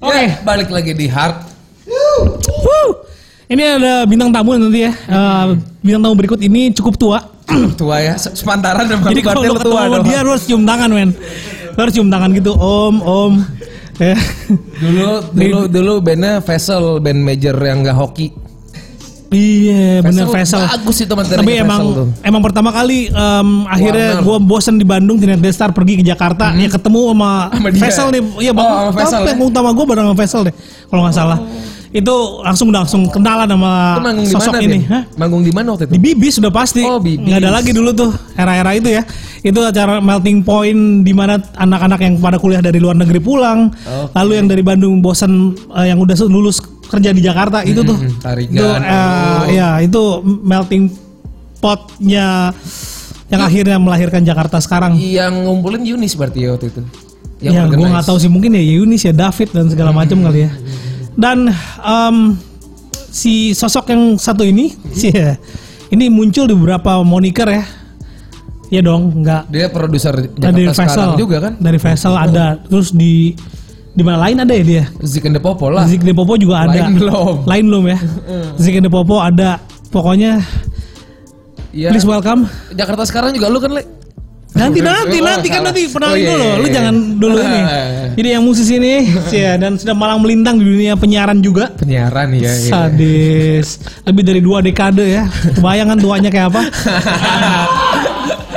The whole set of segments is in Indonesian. Oke. balik lagi di Heart. Wuh. Ini ada bintang tamu nanti ya. Eh, bintang tamu berikut ini cukup tua. Tua ya, se- sepantaran dan Jadi kalau lu ketemu sama dia lu harus cium tangan, men. Lu harus cium tangan gitu, Om, Om. Ya. Dulu dulu dulu bandnya Vessel, band major yang gak hoki. Iya, bener Vessel. Vesel. Bagus itu materinya Tapi Vessel emang tuh. emang pertama kali em, Warner. akhirnya Mm-hmm. gue bosen di Bandung Tinet Destar pergi ke Jakarta ya ketemu sama, Sama dia. Vesel nih iya Oh, bang sama Vesel tapi ya? Oh. yang utama gue bareng sama Vesel deh kalau nggak salah itu langsung langsung kenalan sama Itu manggung di Ah, sosok mana ini Din? Hah? Manggung di mana waktu itu? di Bibis sudah pasti Oh, Bibis. nggak ada lagi dulu tuh era-era itu ya itu acara melting point di mana anak-anak yang pada kuliah dari luar negeri pulang Oke. lalu yang dari Bandung bosan eh, yang udah lulus kerja di Jakarta itu tuh Mm-mm, Hmm, tarikan. itu eh, Oh. ya itu melting potnya yang akhirnya melahirkan Jakarta sekarang Yang ngumpulin Yunis berarti ya waktu itu. ya gue organize. Hmm. nggak tahu sih mungkin ya Yunis ya David dan segala macam kali ya dan em, si sosok yang satu ini sih Hmm. ini muncul di beberapa moniker ya ya dong nggak Dia produser dari Jakarta Vessel sekarang juga kan? dari Vessel ada terus di di mana lain ada ya dia Zik and the Popo lah. Zik Depopo juga ada Lain belum. Hmm. lain belum ya Zik Depopo ada pokoknya Iya. please welcome Jakarta sekarang juga lu kan, Le? Nanti nanti Oh, nanti kan salah. nanti Oh, perkenalan iya, dulu. iya, Lu iya. jangan dulu ini. Ah. Jadi yang musisi ini sih ya, dan sudah malang melintang di dunia penyiaran juga. Penyiaran ya. iya. Sadis. Lebih dari dua dekade ya. Bayangan tuanya kayak apa?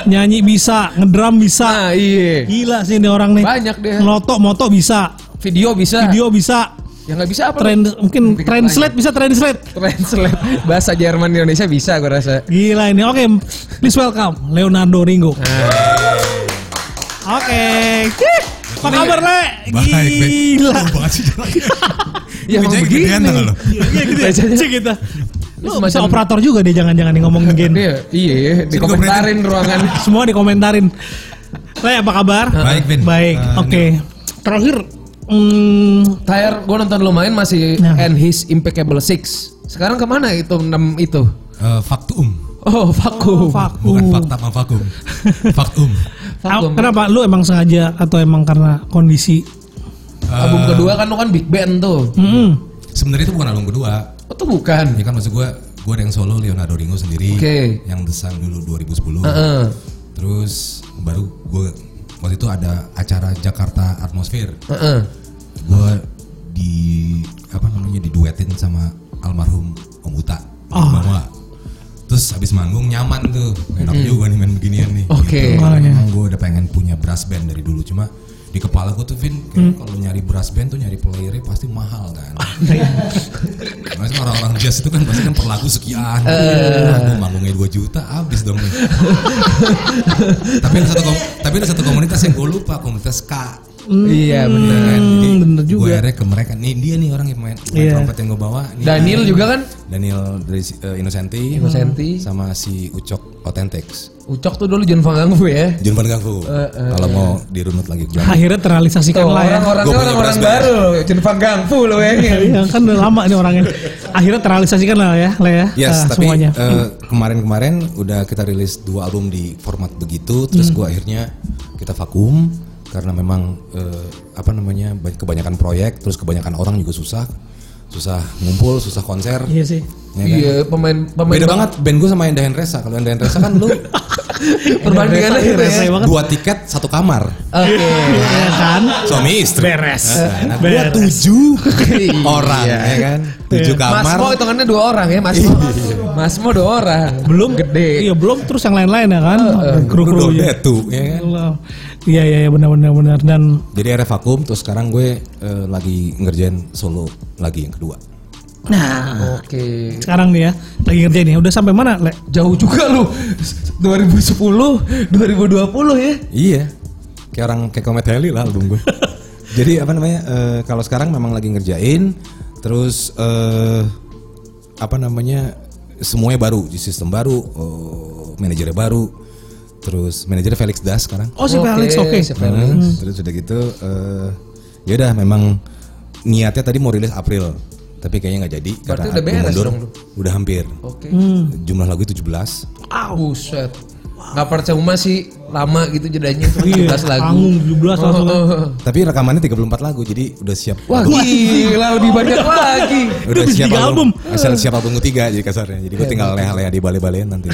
Nyanyi bisa, ngedrum bisa. Ah, iya. Gila sih ini orang nih. Banyak Nah. deh. Ngelotok, moto bisa. Video bisa. Video bisa. Yang nggak bisa apa? Le? Trend, mungkin Dikit translate bisa translate. Translate bahasa Jerman di Indonesia bisa gue rasa. Gila ini. Oke, please welcome Leonardo Ringo. Oke. Cih. Apa kabar, Le? Eh, Gila. Jauh banget sih jaraknya. Ya Mejanya gedean tanggal lo. Iya gitu ya. Bacanya. Cih, gitu. Lu Semacam- bisa operator juga dia jangan-jangan nih ngomong gen. Iya, iya, dikomentarin ruangan. Semua dikomentarin. Le, apa kabar? Baik, Vin. Baik. Eh, Oke. Terakhir hmm, Terakhir gue nonton lo main masih Nah. and his impeccable six. Sekarang kemana itu enam itu? Eh, faktum. Oh Uh, vakum. Uh. Bukan vakum. fakta sama vakum. Faktum. Vakum. Kenapa lu emang sengaja atau emang karena kondisi? Album kedua kan lo kan big band tuh. Mm-mm. Eh, Sebenarnya itu bukan album kedua. Oh tuh bukan. Ya kan maksud gue, gue ada yang solo Leonardo Ringo sendiri. Oke. Yang desang dulu 2010. Heeh. Terus baru gue waktu itu ada acara Jakarta Atmosphere. Heeh. Gue di apa namanya diduetin sama almarhum Om Uta. Oh. Bawa. Terus habis manggung nyaman tuh. Enak juga nih main beginian nih. Oke. Gitu. Emang gue udah pengen punya brass band dari dulu cuma di kepala gue tuh Vin kayak kalau nyari brass band tuh nyari playernya pasti mahal kan. Maksudnya orang-orang jazz itu kan pasti kan per lagu sekian. Nah, gue manggungnya 2 juta habis dong nih. tapi ada satu kom- tapi ada satu komunitas yang gue lupa komunitas K. Iya bener. Bener, bener juga. Gue akhirnya ke mereka. Nih dia nih orang yang main, main Iya. trompet yang gue bawa. Nih, Daniel juga kan? Daniel dari si- eh, Innocenti, Innocenti. sama si Ucok Authentics. Ucok tuh dulu jangan pengganggu ya. Jun Van Gangfu. Kalau mau dirunut lagi. gua- Akhirnya terrealisasikan Tuh lah ya. orang-orangnya Gua punya orang-orang brass band. baru. Jangan pengganggu lo ya. Iya kan udah lama nih orangnya. Akhirnya terrealisasikan lah ya, Le ya. Yes, eh, tapi semuanya. eh, kemarin-kemarin udah kita rilis dua album di format begitu, terus gua akhirnya kita vakum karena memang eh, apa namanya ba- kebanyakan proyek, terus kebanyakan orang juga susah, susah ngumpul, susah konser. Iya sih. ya kan? Iya pemain pemain. Beda banget band gue sama Endah Hendresa. Kalau Endah Hendresa kan lu Perbandingannya gitu ya. Rese banget. Eh, dua tiket satu kamar. Oke. Iya kan? Suami istri. Beres. Nah, gua Beres. tujuh Iya. orang ya kan. Tujuh Mas Mo kamar. hitungannya dua orang ya Mas Mo. Mas Mo dua orang. belum gede. Iya, belum terus yang lain-lain ya kan. Eh, Kru Kru-kru aja. ya kan. Allah. Iya iya iya, benar benar benar dan Jadi akhirnya vakum terus sekarang gue eh, lagi ngerjain solo lagi yang kedua. nah Oke. sekarang nih ya lagi ngerjain nih udah sampai mana le Jauh juga lu. 2010, 2020 ya. Iya. Kayak orang kayak Komet Heli lah album gue. Jadi apa namanya? eh, kalau sekarang memang lagi ngerjain terus eh apa namanya? semuanya baru, di sistem baru, eh, manajernya baru. Terus manajernya Felix Das sekarang. oh si Oke, Felix oke si Felix. Hmm, Terus udah gitu eh ya udah memang niatnya tadi mau rilis April. Tapi kayaknya nggak jadi Berarti karena udah album beres mundur. dong lu? Udah hampir. Oke. Jumlah lagu itu 17. Buset. nggak percuma sih lama gitu jedanya cuma Iya, 17 lagu. panggung 17 langsung. Oh, oh, oh. Tapi rekamannya 34 lagu jadi udah siap. Wah gila lebih banyak lagi. Udah udah bisa siap tiga album. album. Asal siap album ketiga jadi kasarnya. Jadi gue Iya, tinggal leha-leha di bale-balein nanti.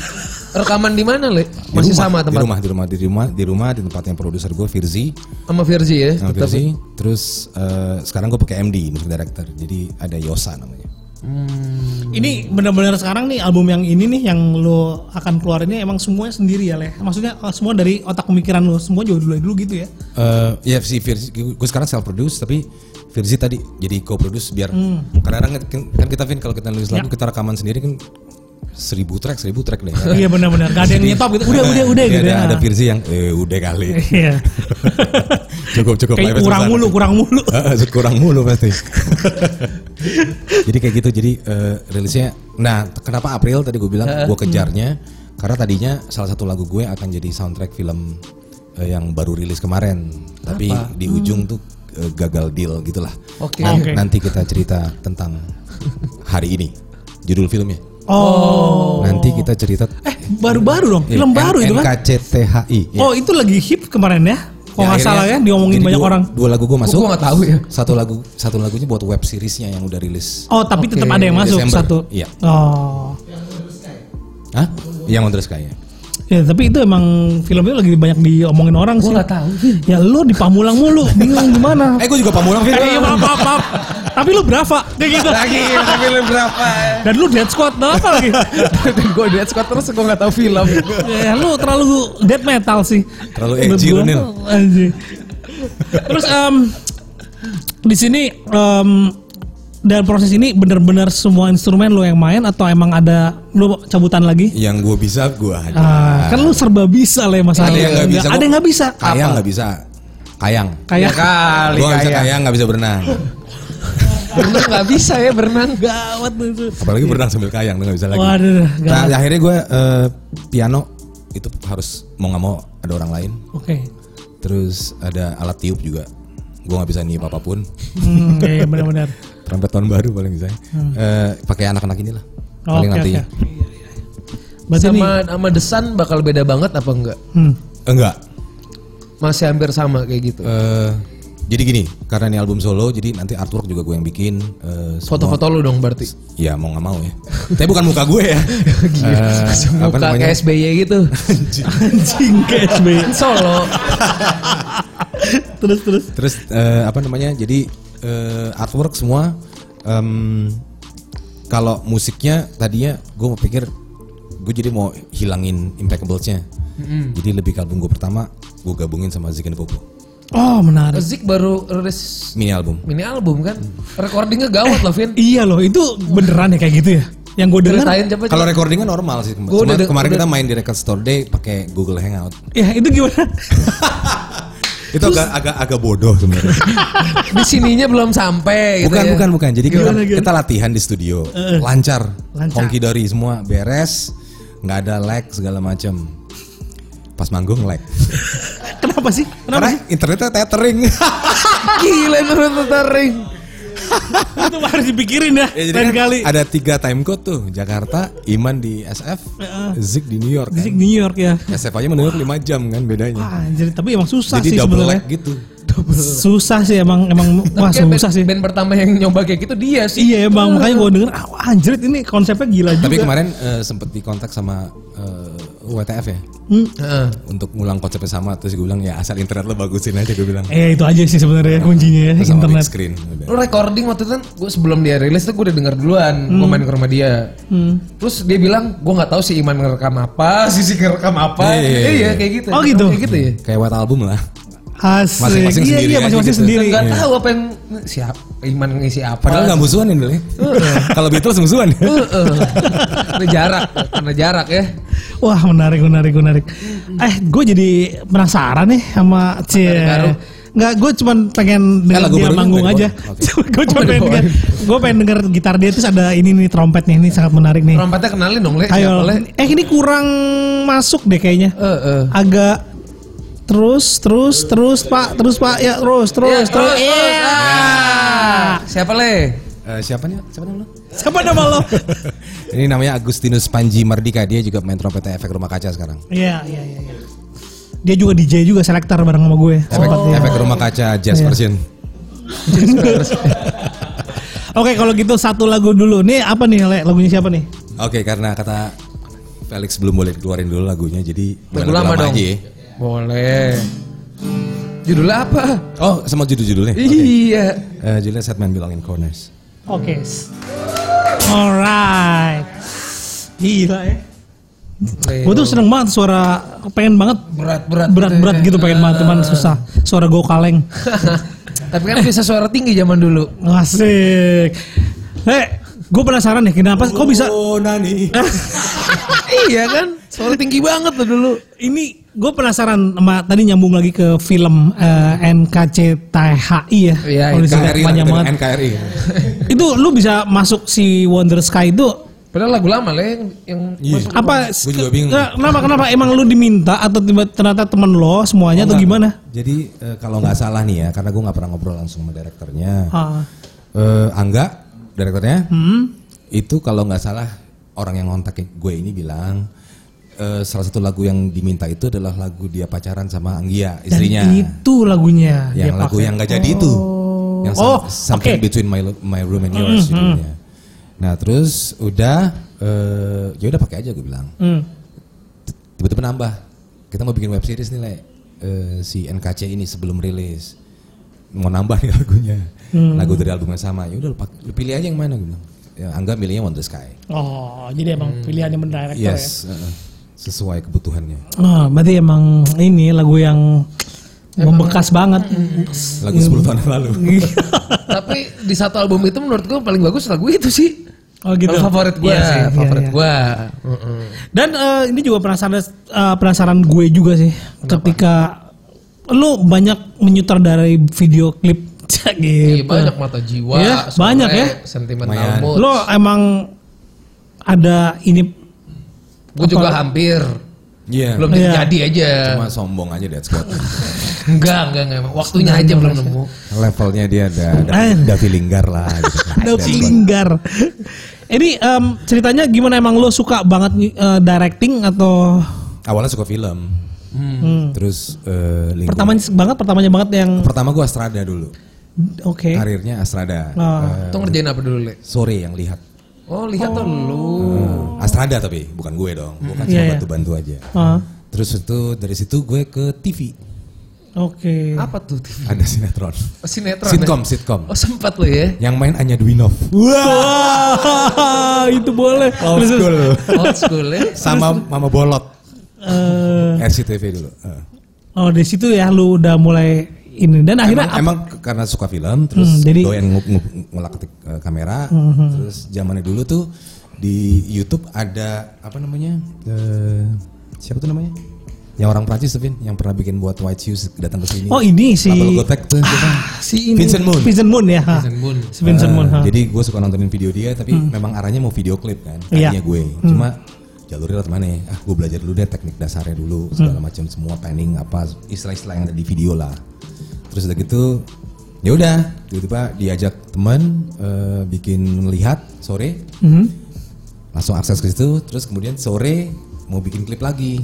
Rekaman di mana le? Di Masih rumah, sama Di tempat rumah, di rumah, di rumah, di rumah di tempatnya produser gue Firzi. sama Virzi ya. Nah, tetap. Firzi. Terus eh, sekarang gue pakai MD, music director. Jadi ada Yosa namanya. Ini benar-benar sekarang nih album yang ini nih yang lo akan keluarin ini emang semuanya sendiri ya, Leh. Maksudnya eh, semua dari otak pemikiran lo, semua juga dulu dulu gitu ya. Eh, ya si Virzi, gue sekarang self produce tapi Virzi tadi jadi co-produce biar Hmm. kadang-kadang kan- kan kita Vin kalau kita nulis Ya. lagu kita rekaman sendiri kan seribu track seribu track deh. Iya benar-benar, gak ada yang nyetop gitu. Udah, udah, udah Jadi gitu Eh, ada, ya. ada Virzi yang eh udah kali. Iya. cukup cukup Kayak live-nya kurang sebesar. mulu, kurang mulu. Heeh, kurang mulu pasti. jadi kayak gitu jadi eh, rilisnya nah kenapa April tadi gue bilang gue Hmm. kejarnya karena tadinya salah satu lagu gue akan jadi soundtrack film eh, yang baru rilis kemarin tapi di ujung tuh eh, gagal deal gitulah. Oke. Nah, Hmm. Oke. Nanti kita cerita tentang hari ini judul filmnya. Oh, Nanti kita cerita eh baru-baru dong, film Iya, baru itu kan. NKCTHI. ya. Oh, itu lagi hip kemarin ya. Kok Ya, nggak akhirnya- salah ya diomongin jadi banyak dua- orang. Dua lagu gue masuk. gua nggak tahu ya. Satu lagu satu lagunya buat web seriesnya yang udah rilis. Oh, tapi tetap Oke, ada yang masuk Desember. satu. Iya. Oh. Hah? Yang on the Sky ya. Ya, tapi itu emang film itu lagi banyak diomongin orang sih. Gua nggak tahu. Vin. Ya lu di Pamulang mulu, bingung gimana. Eh gue juga pamulang Vin. Iya, Eh, iya, maaf, maaf, maaf. Tapi lu berapa? Kayak gitu. Lagi tapi lu berapa? Dan lu dead squad, dan apa lagi? Dan gue dead squad terus gue nggak tahu film. ya, lu terlalu dead metal sih. Terlalu Menurut edgy gua, lu, Nil. anjing. Terus em, di sini em, dan proses ini benar-benar semua instrumen lu yang main atau emang ada lu cabutan lagi? Yang gue bisa gue ada. Ah, kan lu serba bisa lah ya masalah. Iya. Ada yang nggak bisa, Ada gua- yang nggak bisa. Kayang nggak Ya Iya Kayak kan? bisa. Kayang. kali Gue nggak bisa kayang nggak bisa berenang. Berenang nggak bisa ya berenang. gawat tuh itu. Apalagi berenang sambil kayang udah nggak bisa lagi. Waduh, Nah, gawat. akhirnya gue piano itu harus mau nggak mau ada orang lain. Oke. Terus ada alat tiup juga. Gue nggak bisa niup apapun. Hmm, iya, iya, benar-benar. Trompet tahun baru paling bisa. Eh, pakai anak-anak inilah. Hmm. Oh, Paling Oke, nantinya. oke. Berarti ini Sama sama desan bakal beda banget apa enggak? hmm, Enggak. Masih hampir sama kayak gitu. Eh, jadi gini, karena ini album solo, jadi nanti artwork juga gue yang bikin. eh, semua- Foto-foto lu dong berarti. Ya mau nggak mau ya. Tapi bukan muka gue ya. Eh, apa Muka namanya? kayak SBY gitu. anjing ke SB. Solo. terus terus. Terus eh, apa namanya? Jadi eh, artwork semua. em, kalau musiknya tadinya gue mau pikir gue jadi mau hilangin impeccables-nya. Jadi lebih ke album gue pertama gue gabungin sama Zik and Bobo. Oh, menarik. Zik baru rilis Mini album. mini album kan. Recordingnya gawat lah Vin. Iya loh, itu beneran ya kayak gitu ya. Yang gue dengar, Ceritain coba. Kalau recordingnya normal sih. Cuma Gua udah de- kemarin udah- kita main di record store day pakai Google Hangout. ya itu gimana? Itu agak agak agak bodoh sebenarnya. Gitu Di sininya belum sampai gitu bukan ya. bukan bukan. Jadi kita, Gimana, gimana? kita latihan di studio, lancar, Lancar. Honky dari semua beres, nggak ada lag segala macam. Pas manggung lag. Kenapa sih? Kenapa Karena sih? internetnya tethering. Gila menurut tertarik. itu harus dipikirin ya. Ya, jadi Lain kan kali. ada tiga time code tuh, Jakarta, Iman di SF, Eh, Zik di New York. Di Kan? New York ya. SF aja menurut 5 jam kan bedanya. Wah, jadi tapi emang susah sih jadi double lag sebenarnya. gitu. Susah sih emang emang wah Kayak susah band, sih. Band pertama yang nyoba kayak gitu dia sih. Iya bang, makanya gue denger, ah, anjrit ini konsepnya gila juga. Tapi kemarin eh, sempet dikontak sama eh, WTF ya Hmm, Heeh. untuk ngulang konsepnya sama terus gue bilang ya asal internet lo bagusin aja gue bilang. eh itu aja sih sebenarnya kuncinya ya, Terus sama big internet. screen udah. Lu recording waktu itu kan gue sebelum dia rilis tuh gue udah denger duluan. Hmm. Gue main ke rumah dia. Terus dia bilang gue nggak tahu si Iman ngerekam apa, si Zik ngerekam apa. Iya, iya, Iya, iya. kayak gitu. Oh, gitu? Kayak gitu ya. Kayak what album lah. Asik. Masing-masing iya, sendiri iya, aja masing-masing gitu. sendiri. Gak tahu apa yang siap Iman ngisi apa. Padahal nggak musuhan ini ya. Kalau Beatles musuhan ya. Heeh. Karena jarak, karena jarak ya. Wah menarik menarik menarik. Eh gue jadi penasaran nih sama Cie. baru? Nggak, gue cuman pengen Eh, denger lagu dia barunya manggung nggak aja. gue cuma Oh, pengen dibawain. denger, gue pengen denger gitar dia terus ada ini nih trompet nih, ini sangat menarik nih. Rompatnya kenalin dong, Le. Siapa, Ayo, Le? eh ini kurang masuk deh kayaknya. Eh, eh. Agak terus terus terus pak terus pak ya terus Iya, terus Iya. terus. Iya. ah. Siapa, Le? Eh, siapa nih? Siapa nih lo? Siapa nama lo? Ini namanya Agustinus Panji Mardika. Dia juga main trompetnya efek rumah kaca sekarang. Iya, iya, iya. iya. Dia juga DJ juga selektor bareng sama gue. Efek, efek rumah kaca jazz Iya. version. Oke, kalau gitu satu lagu dulu. Nih apa nih, Le? Lagunya siapa nih? Oke, karena kata Felix belum boleh keluarin dulu lagunya, jadi main Lagu lama dong. aja ya. Boleh. Judulnya apa? Oh, sama judul-judulnya. Oke. Iya. Eh, judulnya Sad Man Belong in Corners. Oke. Alright. Gila ya. Gue tuh seneng banget suara pengen banget berat-berat. berat-berat gitu pengen banget cuman susah suara gue kaleng Tapi kan bisa suara tinggi zaman dulu. asik le gue penasaran deh kenapa kok bisa Eh, Oh, Nani. iya kan? Suara tinggi banget tuh dulu. ini gue penasaran sama tadi nyambung lagi ke film eh, NKCTHI ya Iya, Kalau disingkat NKRI, panjang banget NKRI. itu lu bisa masuk si Wonder Sky itu Padahal lagu lama lah yang, yang Iya. apa Nah, Gua juga bingung. kenapa kenapa emang lu diminta atau tiba ternyata temen lo semuanya atau Oh, Enggak. gimana Jadi eh, kalau nggak salah nih ya, karena gue nggak pernah ngobrol langsung sama direkturnya. Ah. Eh, Angga, direkturnya, hmm itu kalau nggak salah orang yang ngontak gue ini bilang eh, salah satu lagu yang diminta itu adalah lagu dia pacaran sama Anggia dan istrinya. itu lagunya yang dia lagu pakai. yang nggak jadi itu yang some- Oh, something oke. Mm-hmm. between my lo- my room and yours judulnya. nah terus udah eh, ya udah pakai aja gue bilang Hmm. tiba-tiba nambah kita mau bikin web series nih le Eh, si NKC ini sebelum rilis mau nambah nih lagunya Mm. lagu dari album yang sama ya udah lu, pak- lu pilih aja yang mana gue bilang ya, Angga milihnya Wonder Sky Oh, jadi emang pilihannya bener director ya. Hmm. yes eh, sesuai kebutuhannya Oh, berarti emang ini lagu yang membekas banget. lagu Mm. 10 tahun yang lalu Tapi di satu album itu menurut gue paling bagus lagu itu sih. oh gitu. Lagu favorit gue Iya sih, iya, favorit iya. gue. Mm-mm. Dan eh, ini juga penasaran eh, penasaran gue juga sih ketika lu banyak menyutradarai video klip Iya, gitu. banyak mata jiwa, Iya, Sore, banyak ya. sentimental Lumayan. mood. Lo emang ada ini Gue juga hampir iya belum Iya. jadi aja. cuma sombong aja that's what Enggak, enggak, enggak. emang. Waktunya aja belum nemu. Iya. levelnya dia ada Davi Linggar lah gitu. ada linggar. ini em, ceritanya gimana emang lo suka banget eh, directing atau awalnya suka film Hmm. terus eh, lingkungan- pertamanya banget pertamanya banget yang pertama gue Astrada dulu oke. karirnya Astrada Eh, Nah. Tuh ngerjain apa dulu, Le? sore yang lihat Oh, lihat tuh lu. Eh, Astrada tapi bukan gue dong bukan Iya, cuma iya. bantu-bantu aja Ah, terus itu dari situ gue ke TV Hmm. Oke. Apa tuh? TV? ada sinetron Oh, Sinetron. ya? eh? sitcom sitcom Oh, sempat lo ya. yang main Anya Dwinov Wah, itu boleh. old Oh, Terus- school Old school ya. sama Mama Bolot Eh, RCTV dulu Eh. oh, di situ ya lu udah mulai ini dan akhirnya emang, emang ke- karena suka film terus Iya, Hmm, jadi- Hmm, doyan ngup ngup ngulak ketik eh, kamera terus zamannya dulu tuh di YouTube ada apa namanya Eh, siapa tuh namanya yang orang Prancis tuh Vin yang pernah bikin buat White Shoes datang ke sini Oh, ini si- Ah, Double Gotek tuh siapa? si ini Iya. Vincent Moon. Vincent Moon ya. ha. Vincent Moon. Si Vincent Moon. ha. Eh, jadi gue suka nontonin video dia tapi memang arahnya mau video klip kan Hmm. Iya. tadinya gue cuma jalurnya lewat mana ya? ah gue belajar dulu deh teknik dasarnya dulu segala Hmm. macam semua panning apa istilah-istilah yang ada di video lah terus udah gitu ya udah tiba-tiba diajak teman eh, bikin lihat sore Mhm. langsung akses ke situ terus kemudian sore mau bikin klip lagi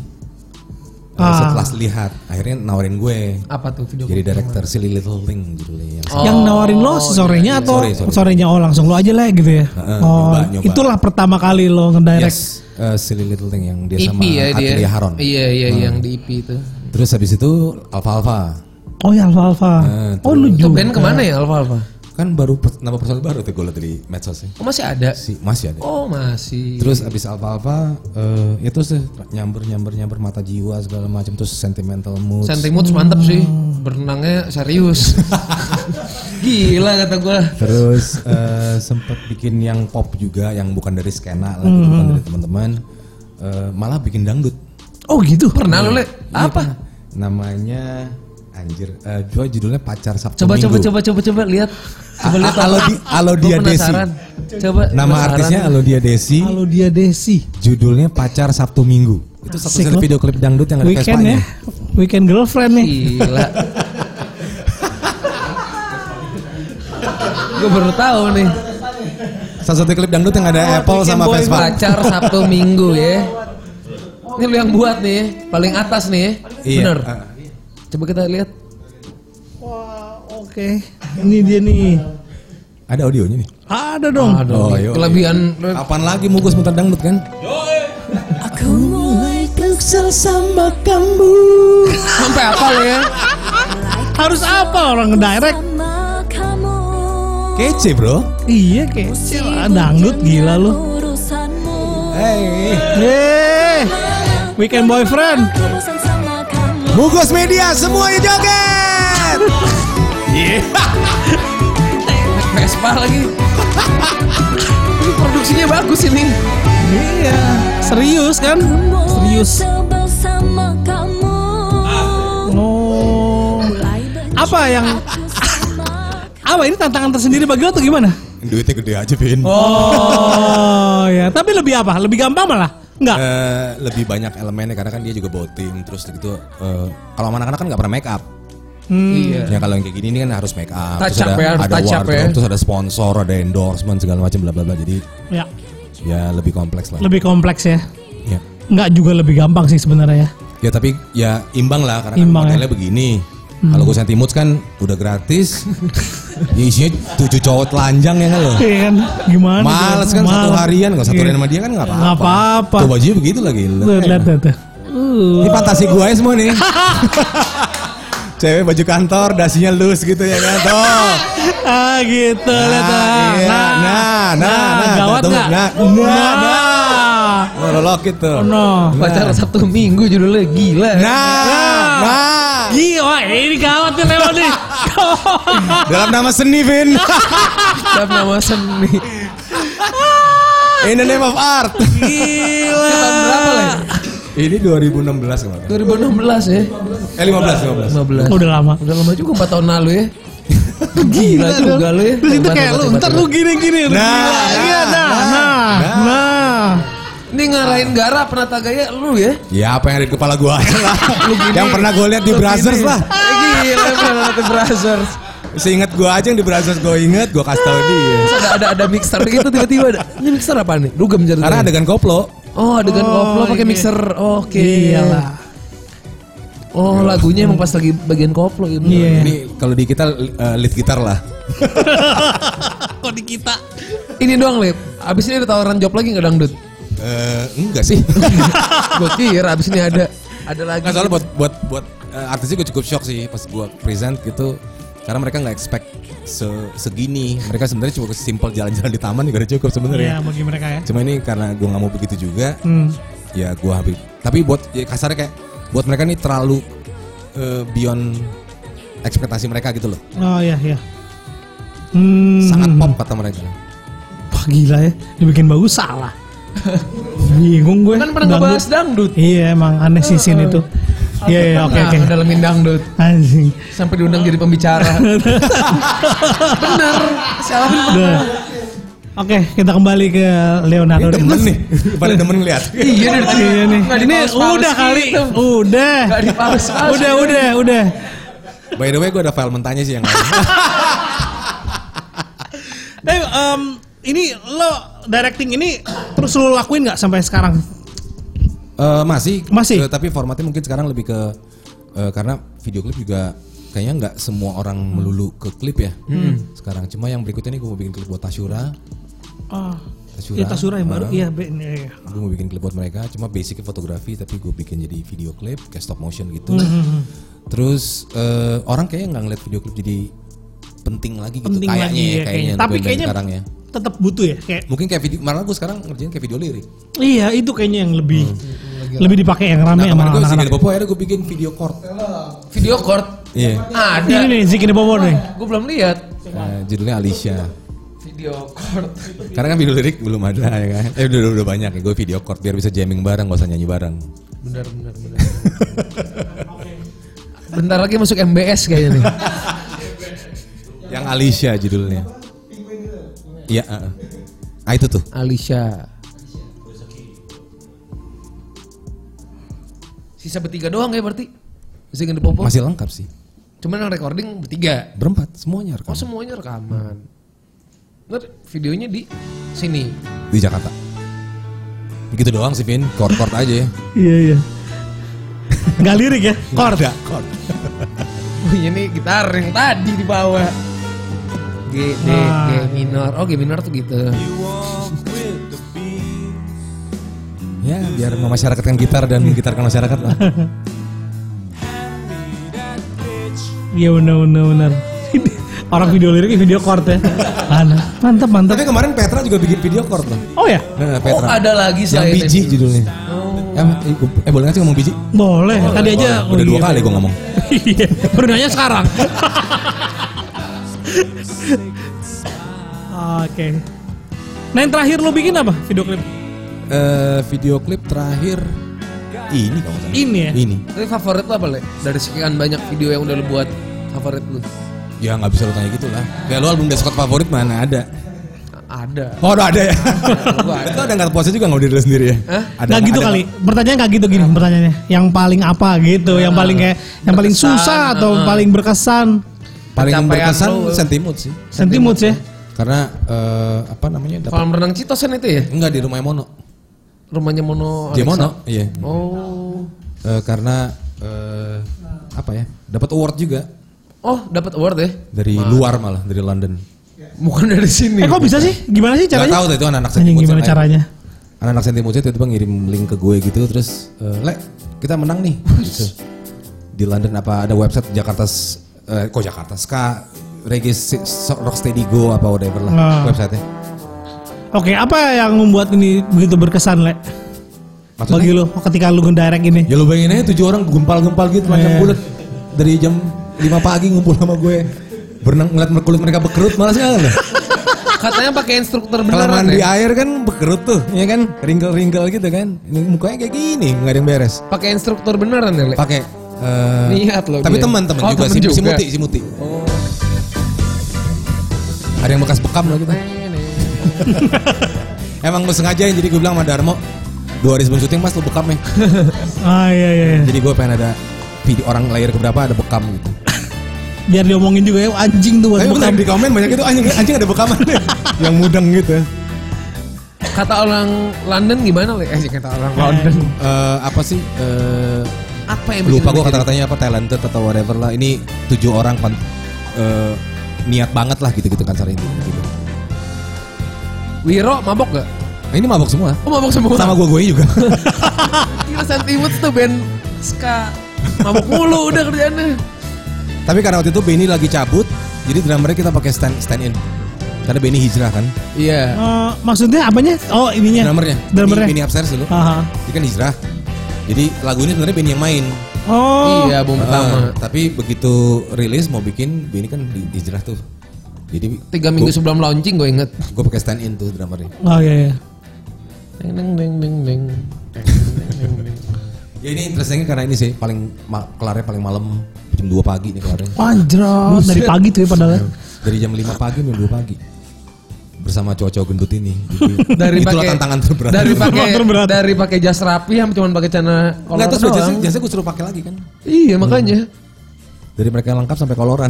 Eh, Ah. setelah lihat akhirnya nawarin gue Apa tuh video? jadi director Silly Little Thing judulnya yang Yang nawarin Oh, lo iya, si sorenya atau Sore, sore. sorenya oh langsung lo aja lah gitu ya. oh, Heeh, Ah, nyoba, nyoba. itulah pertama kali lo ngedirect. Yes, uh, Silly Little Thing yang EP dia sama ya dia. Atlia Haron. Hmm. Iya, iya, yang di EP itu. Terus habis itu Alfa Alfa Oh ya Alfa Alfa. Ah, oh lu Itu juga. band kemana ya, Alfa Alfa? kan baru pers- nama personal baru tuh gue liat dari medsosnya. Oh, masih ada. Si masih ada. Oh, masih. Terus habis Alfa Alfa eh ya terus deh, nyamber nyamber nyamber mata jiwa segala macam terus sentimental mood. Sentimut mantep sih. Berenangnya serius. Gila kata gua. terus eh sempat bikin yang pop juga yang bukan dari skena lagi Mhm. bukan dari teman-teman Eh, malah bikin dangdut. Oh gitu. Pernah lo, Le? Iya, Apa? pernah. Namanya anjir eh gua judulnya pacar Sabtu Coba coba Minggu. coba coba coba lihat. Coba lihat A- Alodi- Alfa. Alodia Gua penasaran. Coba Nama penasaran. artisnya Alodia Desi, Kalau dia Desi. judulnya Pacar Sabtu Minggu. Itu satu Asik satu loh. video klip dangdut yang ada Weekend Vespanya. ya. Weekend girlfriend nih. Gila. Gue baru tahu nih. satu-satu klip dangdut yang Ah, ada Apple sama Boy Vespa. pacar Sabtu Minggu ya. Ini lu yang buat nih, ya. paling atas nih. ya. Iya. Bener. Ah. Coba kita lihat. Wah, oke. Ini dia nih. Ada audionya nih. Ada dong. Oh, nih, yoi. kelebihan Kapan lagi mukus muter dangdut kan? Aku mulai kesel sama kamu sampai apa lu ya? Harus apa orang ngedirect? Sama kamu Kece bro. Iya kecil. Ah, Dangdut gila lu. Urusanmu Hey. Yeay. Eh, Weekend boyfriend. Aku bosan sama kamu Mukus media semuanya joget. Vespa lagi. ini produksinya bagus ini. Iya. Serius kan? Serius. Sebel sama kamu Oh. Mulai benci Apa yang aku sama apa ini tantangan tersendiri bagi lo atau gimana? Duitnya gede aja Vin. Oh ya, tapi lebih apa? Lebih gampang malah? Enggak. Eh, lebih banyak elemennya karena kan dia juga bawa tim terus gitu. eh, kalau sama anak-anak kan nggak pernah make up. Iya. Ya kalau yang kayak gini ini kan harus make up. Touch terus up ada, ya, harus ada touch up wardrobe, ya. terus ada sponsor, ada endorsement segala macam bla bla bla. Jadi Ya, ya lebih kompleks lah. lebih kompleks ya. Ya. Enggak juga lebih gampang sih sebenarnya ya. Ya tapi ya imbang lah karena Imbang ya. kan Hmm. modelnya begini. Kalau gue Moods kan udah gratis. ya isinya tujuh cowok telanjang ya kan lo. Iya kan? Gimana? Males tuh? kan satu Males. harian kalau satu Iya. harian sama dia kan nggak apa-apa. Nggak apa-apa. Tuh bajunya begitu lagi. Tuh, lihat lihat tuh. Uh. Ini fantasi gue aja semua nih. Cewek baju kantor, dasinya loose gitu ya kan. Tuh. Ah gitu lihat ah. iya. Nah, nah, nah. gawat Tuh, nggak? nah, nah, Oh, lolok gitu. No. Pacar Sabtu Minggu judulnya gila. Nah, nah. Gila, eh, ini gawat nih lewat nih. Dalam nama seni, Vin. Dalam nama seni. In the name of art. Gila. Tahun berapa lah? ya? Ini 2016 kemarin. 2016 ya. Eh 15, 15. 15. Udah lama. Udah lama juga 4 tahun lalu ya. Gila juga lu ya. Terus itu Hebat, kayak hebat, lu, hebat, ntar hebat. lu gini-gini. lu Nah, gila. Iya, nah, nah, nah, nah. nah. Ini ngarahin Gara penata gaya lu ya. Ya apa yang ada di kepala gua aja lah. yang pernah gua lihat di Brazzers Ini. lah. Eh, Gila penata Brazzers. Seingat gua aja yang di Brazzers gua inget, gua kasih tau dia. Terus ada ada ada mixer gitu tiba-tiba ada. Ini mixer apa nih? Dugem jadi. Iya. Karena adegan koplo. Oh, adegan Oh, koplo pakai iya. mixer. Oke. Iyalah. Oh, lagunya emang pas lagi bagian koplo gitu. Iya. Ini kalau di kita eh, lead gitar lah. Kok di kita? Ini doang, Lip. Abis ini ada tawaran job lagi nggak dangdut? Eh, enggak sih. Gue kira abis ini ada ada lagi. Nggak, soalnya buat buat buat eh, artisnya gue cukup shock sih pas gua present gitu. Karena mereka nggak expect se- segini. Mereka sebenarnya cuma simpel jalan-jalan di taman juga udah cukup Iya, sebenarnya. bagi mereka ya. Cuma ini karena gua nggak mau begitu juga. Hmm. ya gua habis tapi buat ya kasarnya kayak buat mereka nih terlalu eh, beyond ekspektasi mereka gitu loh Oh iya, iya. Hmm. sangat pop kata mereka Wah gila ya, dibikin bagus salah. Bingung gue. kan pernah ngebahas dangdut. Iya emang aneh sih scene itu. Iya iya oke Nah, oke. dalamin dangdut. Anjing. sampai diundang jadi pembicara. Bener, siapa pun Udah. Oke kita kembali ke Leonardo. Ini demen nih pada demen lihat Iya, dari tadi Iya nih. nggak Ini dipaus-paus udah kali. gitu. Udah. Nggak dipaus Udah udah udah. by the way gue ada file mentahnya sih yang lain Eh em, ini lo directing ini terus lo lakuin nggak sampai sekarang? Eh, masih Masih? Eh, tapi formatnya mungkin sekarang lebih ke eh, karena video klip juga kayaknya nggak semua orang melulu ke klip ya Hmm. sekarang cuma yang berikutnya nih gue mau bikin klip buat Tashura Oh. Tashura, Iya Tasura yang baru. eh, Iya. Be, iya, iya. gue mau bikin klip buat mereka cuma basicnya fotografi tapi gue bikin jadi video klip kayak stop motion gitu Hmm, terus eh, orang kayaknya nggak ngeliat video klip jadi penting lagi gitu Penting kayaknya lagi ya, ya kayaknya. Tapi lebih dari kayaknya sekarang ya tetap butuh ya kayak mungkin kayak video malah gue sekarang ngerjain kayak video lirik Iya itu kayaknya yang lebih lebih dipakai yang rame sama Nah, kemarin gue anak-anak. di Popo akhirnya gue bikin video court Video court iya ada. Ini nih Zikini Bobo nih. Gue belum lihat. Eh, judulnya Alicia Video court. karena kan video lirik belum ada ya kan eh udah udah, udah banyak ya gue video court biar bisa jamming bareng gak usah nyanyi bareng Bener, bener, bener. Bentar lagi masuk MBS kayaknya nih. yang Alicia judulnya iya eh, eh. ah itu tuh Alicia. Sisa bertiga doang ya berarti? Masih di popo. masih lengkap sih Cuman yang recording bertiga. berempat semuanya rekam. Oh semuanya rekaman. Ntar videonya di sini. di Jakarta. Begitu doang sih Vin, chord-chord aja ya. Iya iya. Nggak lirik ya? Chord. Chord. Wih Oh, ini gitar yang tadi di bawah. G, D, G minor. Oh G minor tuh gitu. Ya, biar memasyarakatkan gitar dan menggitarkan masyarakat lah. Iya benar benar benar. Orang video liriknya video chord ya. Mana? Mantap mantap. Tapi kemarin Petra juga bikin video chord loh. Oh ya, Oh Nah, Petra. ada lagi yang selain biji itu. judulnya. Em, eh, gu- Eh, boleh nggak sih ngomong biji? boleh. Tadi aja Udah oh, dua iya. kali gue ngomong. Iya, baru nanya sekarang. Oke. Nah yang terakhir lo bikin apa video klip? Eh, video klip terakhir ini kalau nggak salah. Ini ya? Ini. Tapi favorit lo apa le? Dari sekian banyak video yang udah lo buat favorit lo? Ya nggak bisa lo tanya gitu lah. Kayak lo album Descott favorit mana ada? Ada. Oh udah ada ya. Gua Itu ada nggak puasa juga nggak diri lo sendiri ya? Hah? Nah gitu ada- kali. Pertanyaan kayak gitu gini pertanyaannya. Yang paling apa gitu, yang Nah, paling kayak yang paling berkesan, susah atau ah. paling berkesan. Paling Pencapaian berkesan lo. sentimut sih. Sentimut ya. Karena eh, apa namanya? Dapat, Kolam renang Citosen itu ya? enggak di rumah Mono. Rumahnya Mono. Dia Alexa. Mono, iya. Oh. Eh, karena eh, apa ya? Dapat award juga Oh dapat award ya? dari luar malah dari London. Bukan dari sini. Eh kok bisa sih? Gimana sih Gak caranya? tahu tuh itu anak-anak Anjing sentimut. gimana yang lain. caranya? Anak-anak sentimut tiba-tiba ngirim link ke gue gitu terus eh, Lek kita menang nih. Gitu. Di London apa ada website Jakarta S- eh, kok Jakarta Ska Reggae Si- So- Rocksteady Go apa whatever lah Ah. websitenya. Oke, apa yang membuat ini begitu berkesan, Le? Maksudnya? Bagi lo ketika lu ngedirect ini. Ya lu bayangin aja tujuh orang gempal-gempal gitu macam Iya. bulat dari jam 5 pagi ngumpul sama gue. Berenang ngeliat kulit mereka bekerut malas kan lo. Katanya pakai instruktur Kalau beneran mandi ya? air kan bekerut tuh, ya kan? Ringkel-ringkel gitu kan. Ini mukanya kayak gini, nggak ada yang beres. Pakai instruktur beneran ya le? Pakai eh, Niat lo Tapi gue. teman-teman Oh, juga, temen si, si juga. Muti, si Muti. Ada yang bekas bekam lah gitu. Emang gue sengajain jadi gue bilang sama Darmo, dua hari sebelum syuting mas lu bekam ya. Ah iya iya. iya. Jadi gue pengen ada video orang lahir keberapa ada bekam gitu. Biar diomongin juga ya anjing tuh buat Tapi bener bekam. di komen banyak itu anjing anjing ada bekaman deh. yang mudeng gitu. Kata orang London gimana le? Eh kata orang London. Eh, apa sih? eh, Apa yang bikin lo lupa gue jadi- kata-katanya apa talented atau whatever lah. Ini tujuh orang pan- eh, niat banget lah gitu-gitu kan sehari ini. Gitu. Wiro mabok gak? Nah, ini mabok semua. Oh mabok semua. Sama gue gue juga. Gila Sentiments tuh band ska. Mabok mulu udah kerjaannya. Tapi karena waktu itu Benny lagi cabut, jadi drummernya kita pakai stand stand in. Karena Benny hijrah kan. Iya. Eh, maksudnya apanya? Oh ininya. Iya, Drummernya. Drummernya. Benny, Benny upstairs dulu. Aha. Dia kan hijrah. Jadi lagu ini sebenarnya Benny yang main. Oh. Iya album pertama. Ah, tapi begitu rilis mau bikin Benny kan di- hijrah tuh. Jadi Tiga minggu sebelum launching gue inget. gue pakai stand in tuh drummernya. Oh iya iya. Deng deng deng deng deng. Ya ini interestingnya karena ini sih paling ma- kelarnya paling malam jam 2 pagi nih kelarnya. Anjrot dari pagi tuh ya padahal. Iya. Dari jam 5 pagi jam 2 pagi. Bersama cowok-cowok gendut ini. Jadi, Dari itulah pakai tantangan terberat. Dari pakai Tantangan terberat. dari pakai jas rapi yang cuma pakai celana kolor Enggak terus doang. jasa, jasa gue suruh pakai lagi kan. Iya makanya. Dari mereka yang lengkap sampai koloran.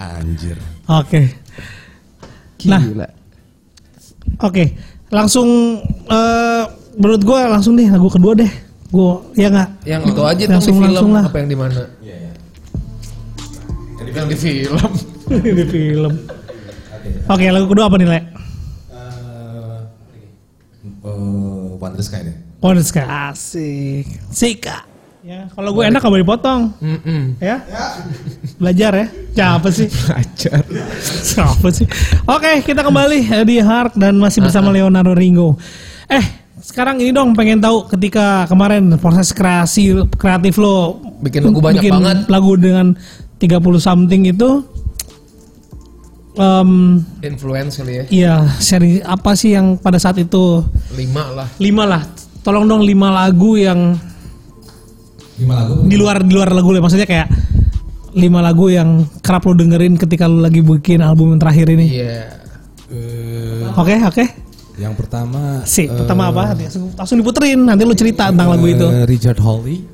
Anjir. Oke. Nah. Gila. Oke. Langsung eh menurut gua langsung deh lagu kedua deh. Gua ya enggak. Yang itu aja tuh di Langsung- film langsung lah. apa yang di mana? Yang di film. Ini film. Oke, lagu kedua apa nih, Le? Eh, Wonder Sky deh. Wonder Sky. Asik. Sika. Ya, kalau gue enak gak boleh dipotong. Mm-mm. Ya. Belajar ya. Siapa sih? Ajar. Siapa sih? Oke, kita kembali eh, di Hark dan masih Ah, bersama Leonardo Ringo. Eh, sekarang ini dong pengen tahu ketika kemarin proses kreasi kreatif lo Bikin lagu banyak banget. lagu dengan 30 something itu em Influence kali ya. Iya, seri apa sih yang pada saat itu Lima lah. lima lah. Tolong dong lima lagu yang Lima lagu. di luar di luar lagu lo. maksudnya kayak lima lagu yang kerap lo dengerin ketika lo lagi bikin album yang terakhir ini. Iya. Eh, Oke, oke. yang pertama Sih, eh, pertama apa? Langsung, langsung diputerin, nanti lo cerita tentang lagu itu. eh, Richard Hawley.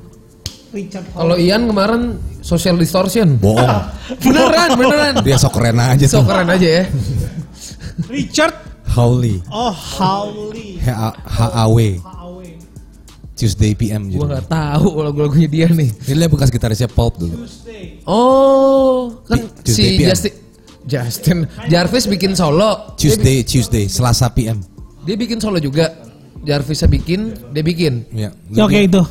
Richard Kalau Ian kemarin social distortion. Bohong. Beneran, beneran. Dia sok keren aja So tuh. keren aja ya. Richard Howley. Oh Howley. H-A-W. Tuesday PM Gue judulnya. nggak tahu lagu-lagunya dia nih. Ini dia bekas gitarisnya Pulp dulu. Oh, kan Di- si Tuesday PM. Justin Justin Jarvis bikin solo. Tuesday, Tuesday, Selasa PM. Dia bikin solo juga. Jarvisnya bikin, dia bikin. Ya. Ya, Oke itu.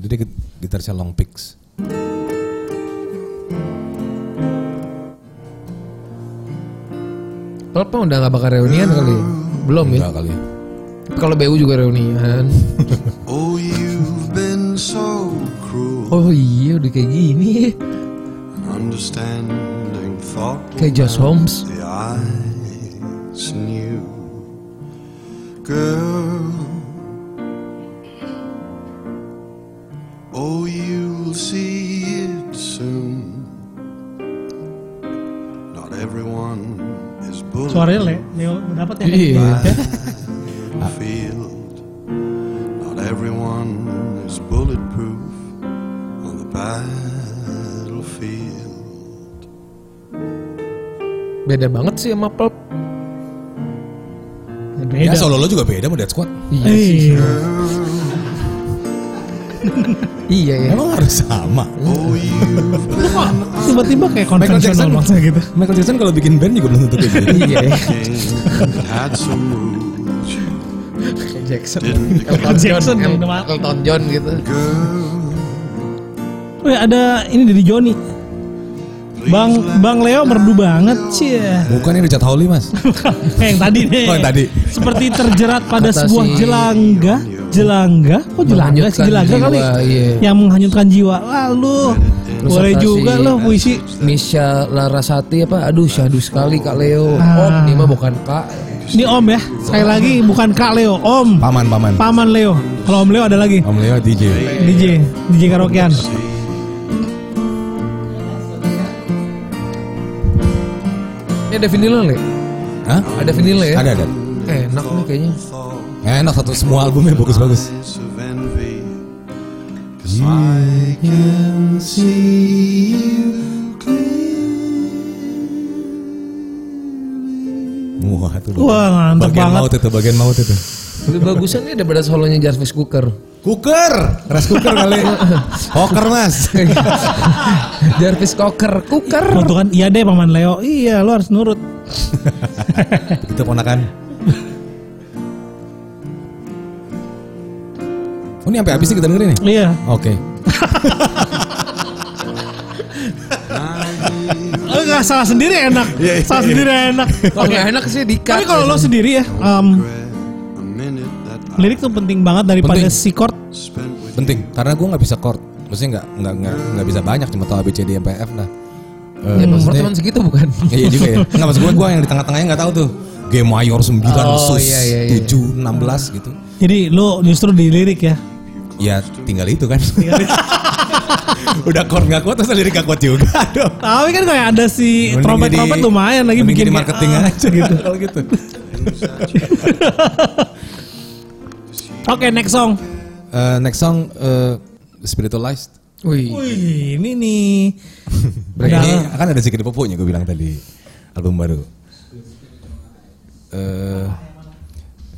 Jadi git- gitarisnya Long Picks. Kalau udah nggak bakal reunian kali. ya? Belum ya. Enggak kali. ya. Kalau BU juga reunian. Oh, you've been so cruel, Oh iya udah kayak gini ya. understanding thought. Kayak Josh Holmes. The eyes knew, girl. Oh, you'll see it soon. Not everyone is bullied. Suaranya le, Leo dapat ya. Iya. in the field. Not everyone is bulletproof on the battlefield. Beda banget sih sama Pulp. Beda. Ya solo lo juga beda sama Dead Squad. Iya. Iya. Iya ya. Emang harus sama. Oh, you've Lu kok tiba-tiba kayak konvensional maksudnya gitu. Michael Jackson kalau bikin band juga belum tentu kayak gitu. Iya ya. been had some rules, you Jackson. didn't Elton John, declare. Jackson, Elton- udah ya, mati. Elton John gitu. Girl, Oh ya, ada ini dari Iya. Joni. please Bang let Bang Leo merdu banget sih. Bukan ini Richard Howley mas. Eh, yang tadi nih. Oh, yang tadi. Seperti terjerat pada Kata sebuah si- jelangga, jelangga, kok jelangga sih Menghanyutkan jelangga jiwa, kali. iya. Yang menghanyutkan jiwa. Lalu boleh kata juga si- loh puisi. Misha Larasati apa? Aduh syahdu sekali Kak Leo. Ah. Om ini mah bukan Kak. Ini Om ya. Sekali lagi bukan Kak Leo, Om. Paman paman. Paman Leo. Kalau Om Leo ada lagi. Om Leo DJ. DJ, DJ karaokean. Ini ada vinilnya Le. Hah? Ada vinilnya ya. Ada ada. Enak nih kayaknya. thoughts Enak satu semua albumnya bagus-bagus. of envy. 'Cause I can see you clear. Wah itu bagus. Wah, mantep bagian banget. maut itu, bagian maut itu. Lebih bagusan nih daripada solonya Jarvis Cooker. Cooker, rice cooker kali. Hoker mas. Jarvis Cooker, Cooker. Waktu kan iya deh Paman Leo. Iya, lo harus nurut. Itu ponakan. Oh ini sampai habis nih kita dengerin nih. Iya. Oke. Lo Eh, nggak salah sendiri enak. salah sendiri enak. Kalau nggak enak sih Eh, di Tapi kalau lo sendiri ya, em, A minute that I lirik tuh penting banget daripada Penting. si chord. spent with Penting karena gue nggak bisa chord. Maksudnya nggak nggak nggak nggak bisa banyak cuma tahu A B C D E F F lah. Eh, Ya, nomor maksudnya- teman segitu bukan? Iya iya juga ya. Enggak maksud gue gue yang di tengah-tengahnya nggak tahu tuh. G mayor 9 Oh, sus iya, iya, iya. 7 16 gitu. Jadi lo justru di lirik ya. Ya tinggal itu kan. Udah chord nggak kuat terus lirik nggak kuat juga. Aduh. Tapi kan kayak ada Iya, si Mending trompet-trompet jadi- lumayan lagi mending bikin jadi marketing Ah, aja gitu kalau gitu. ah. Oke, next song. Eh, next song eh, Spiritualized. Wih, Wih, ini nih. Ini Udah, akan ada sedikit pupuknya gue bilang tadi album baru. Eh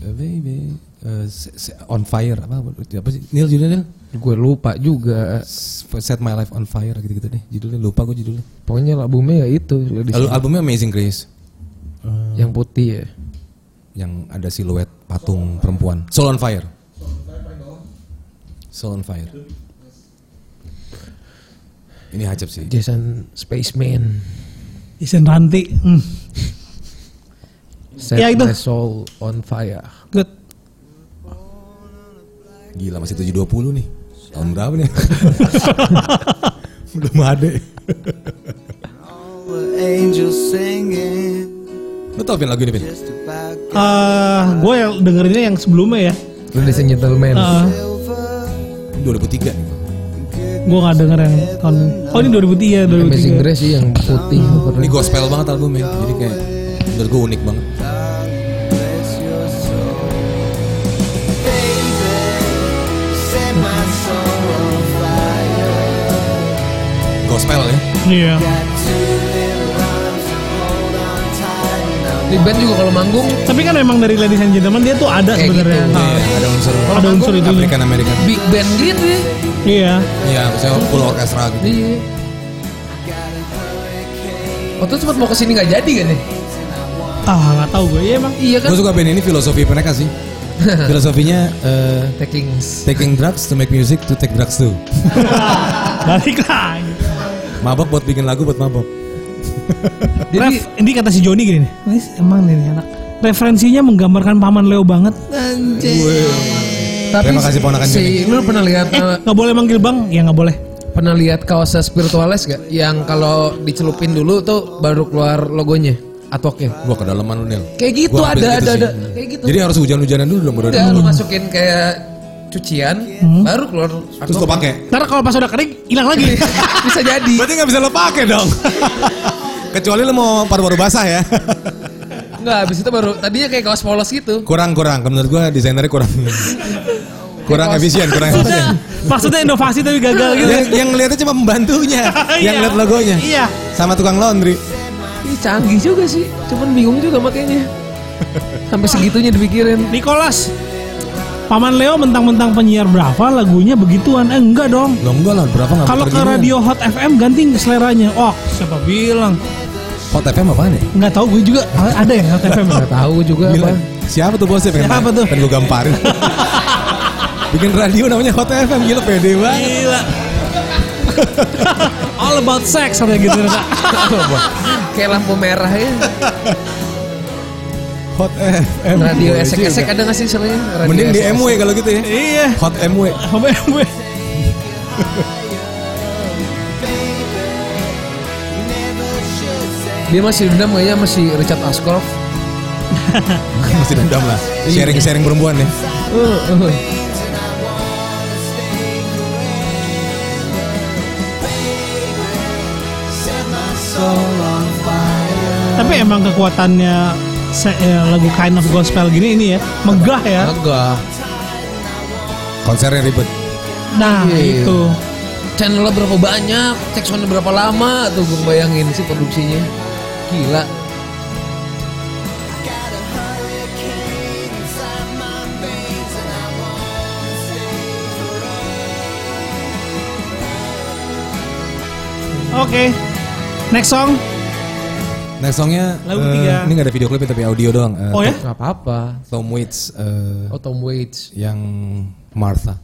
eh, baby eh, se- se- on fire apa apa sih Neil ya? judulnya Neil? gue lupa juga. S- Set My Life on Fire gitu-gitu deh judulnya lupa gue judulnya. Pokoknya albumnya ya itu Lady Lalu albumnya Amazing Grace Gaga. yang putih ya. yang ada siluet patung perempuan. Soul on Fire. Soul on Fire. Ini hajab sih. Jason Spaceman. Isen Ranti. Hmm, Set Ya, itu. my soul on fire. good. Gila masih 720 nih. Tahun berapa nih? Belum ada. The angels singing Lu tau Vin lagu ini Vin? just about Eh, gue yang dengerinnya yang sebelumnya ya. Ladies and gentlemen. Eh, Ini 2003 nih. gue nggak denger yang tahun. Oh ini 2003 ya, Amazing 2003. Grace sih yang putih. Ah. Ini gospel banget albumnya. Jadi kayak menurut gue unik banget. bless your soul. Baby, set my soul on fire. Gospel ya. Iya. Got two little arms to hold on tight. and I'm Ini di band juga kalau manggung Tapi kan memang dari Ladies and Gentlemen dia tuh ada Kayak sebenarnya. gitu. Ah, ada unsur Ada unsur itu. iya. African American. big band gitu ya. Iya. Iya, misalnya full orkestra gitu. Iya. Waktu itu sempat mau kesini nggak jadi kan ya? Ah nggak tahu gue. Iya emang. Iya kan? Gue suka band ini filosofi mereka sih. Filosofinya eh, Taking taking drugs to make music to take drugs too. Balik lagi. Mabok buat bikin lagu buat mabok. Jadi Ref, ini kata si Joni gini nih. Ini emang nih nih anak. Referensinya menggambarkan paman Leo banget. tapi Terima kasih, ponakan si, lu pernah lihat Eh, eh, nggak boleh manggil bang? Ya nggak boleh. pernah lihat kaosnya spiritualis gak? Yang kalau dicelupin dulu tuh baru keluar logonya, atwoknya. Gua kedalaman lu Nel. Kayak gitu, Gua hampir ada, ada, sih. ada. Kayak gitu. Jadi harus hujan-hujanan dulu dong baru. Udah lu masukin kayak cucian, baru keluar Hmm? Terus lo artwork. pakai. Ntar kalau pas udah kering hilang lagi. Bisa jadi. Berarti nggak bisa lo pakai dong. Kecuali lo mau paru-paru basah ya. Enggak, habis itu baru tadinya kayak kaos polos gitu. Kurang kurang. Kalau Menurut gua desainernya kurang. kurang efisien, kurang maksudnya, efisien. maksudnya inovasi tapi gagal gitu. Yang, yang ngeliatnya cuma pembantunya, Iya. yang lihat logonya, Iya. sama tukang laundry. Ih, canggih juga sih. Cuman bingung juga makanya. Sampai segitunya dipikirin. Nicholas. Paman Leo mentang-mentang penyiar berapa lagunya begituan? Eh, enggak dong. Lo enggak lah, berapa nggak Kalau ke puter gini radio Hot FM ganti seleranya. Oh, siapa bilang? kan? Hot FM apaan ya? Nggak tahu gue juga. Ada ya Hot FM? Nggak tahu juga Gila. apa. Siapa tuh bosnya pengen Siapa tuh? Pengen gue gamparin. Bikin radio namanya Hot FM gila pede banget. Gila. All about sex sampai gitu. kayak lampu merah ya. Hot FM. Radio Eh, Boleh esek-esek juga. ada nggak sih istilahnya? Radio Mending di esek-esek. MW kalau gitu ya. iya. Hot MW. Sampai gue. Dia masih dendam kayaknya masih Richard Ashcroft. Masih dendam lah. Sharing-sharing perempuan ya. Uh, uh. oh. Tapi emang kekuatannya se- eh, lagu Kind of Gospel gini ini ya megah ya. Agak. Konsernya ribet. Nah Iya. itu. Channelnya berapa banyak, Texonnya berapa lama tuh gue bayangin sih produksinya. Gila. Oke. Next song. Next songnya Lagu eh, ketiga. ini nggak ada video klipnya tapi audio doang. Eh, Oh ya. Gak apa-apa. Tom Waits eh, Oh Tom Waits. yang Martha.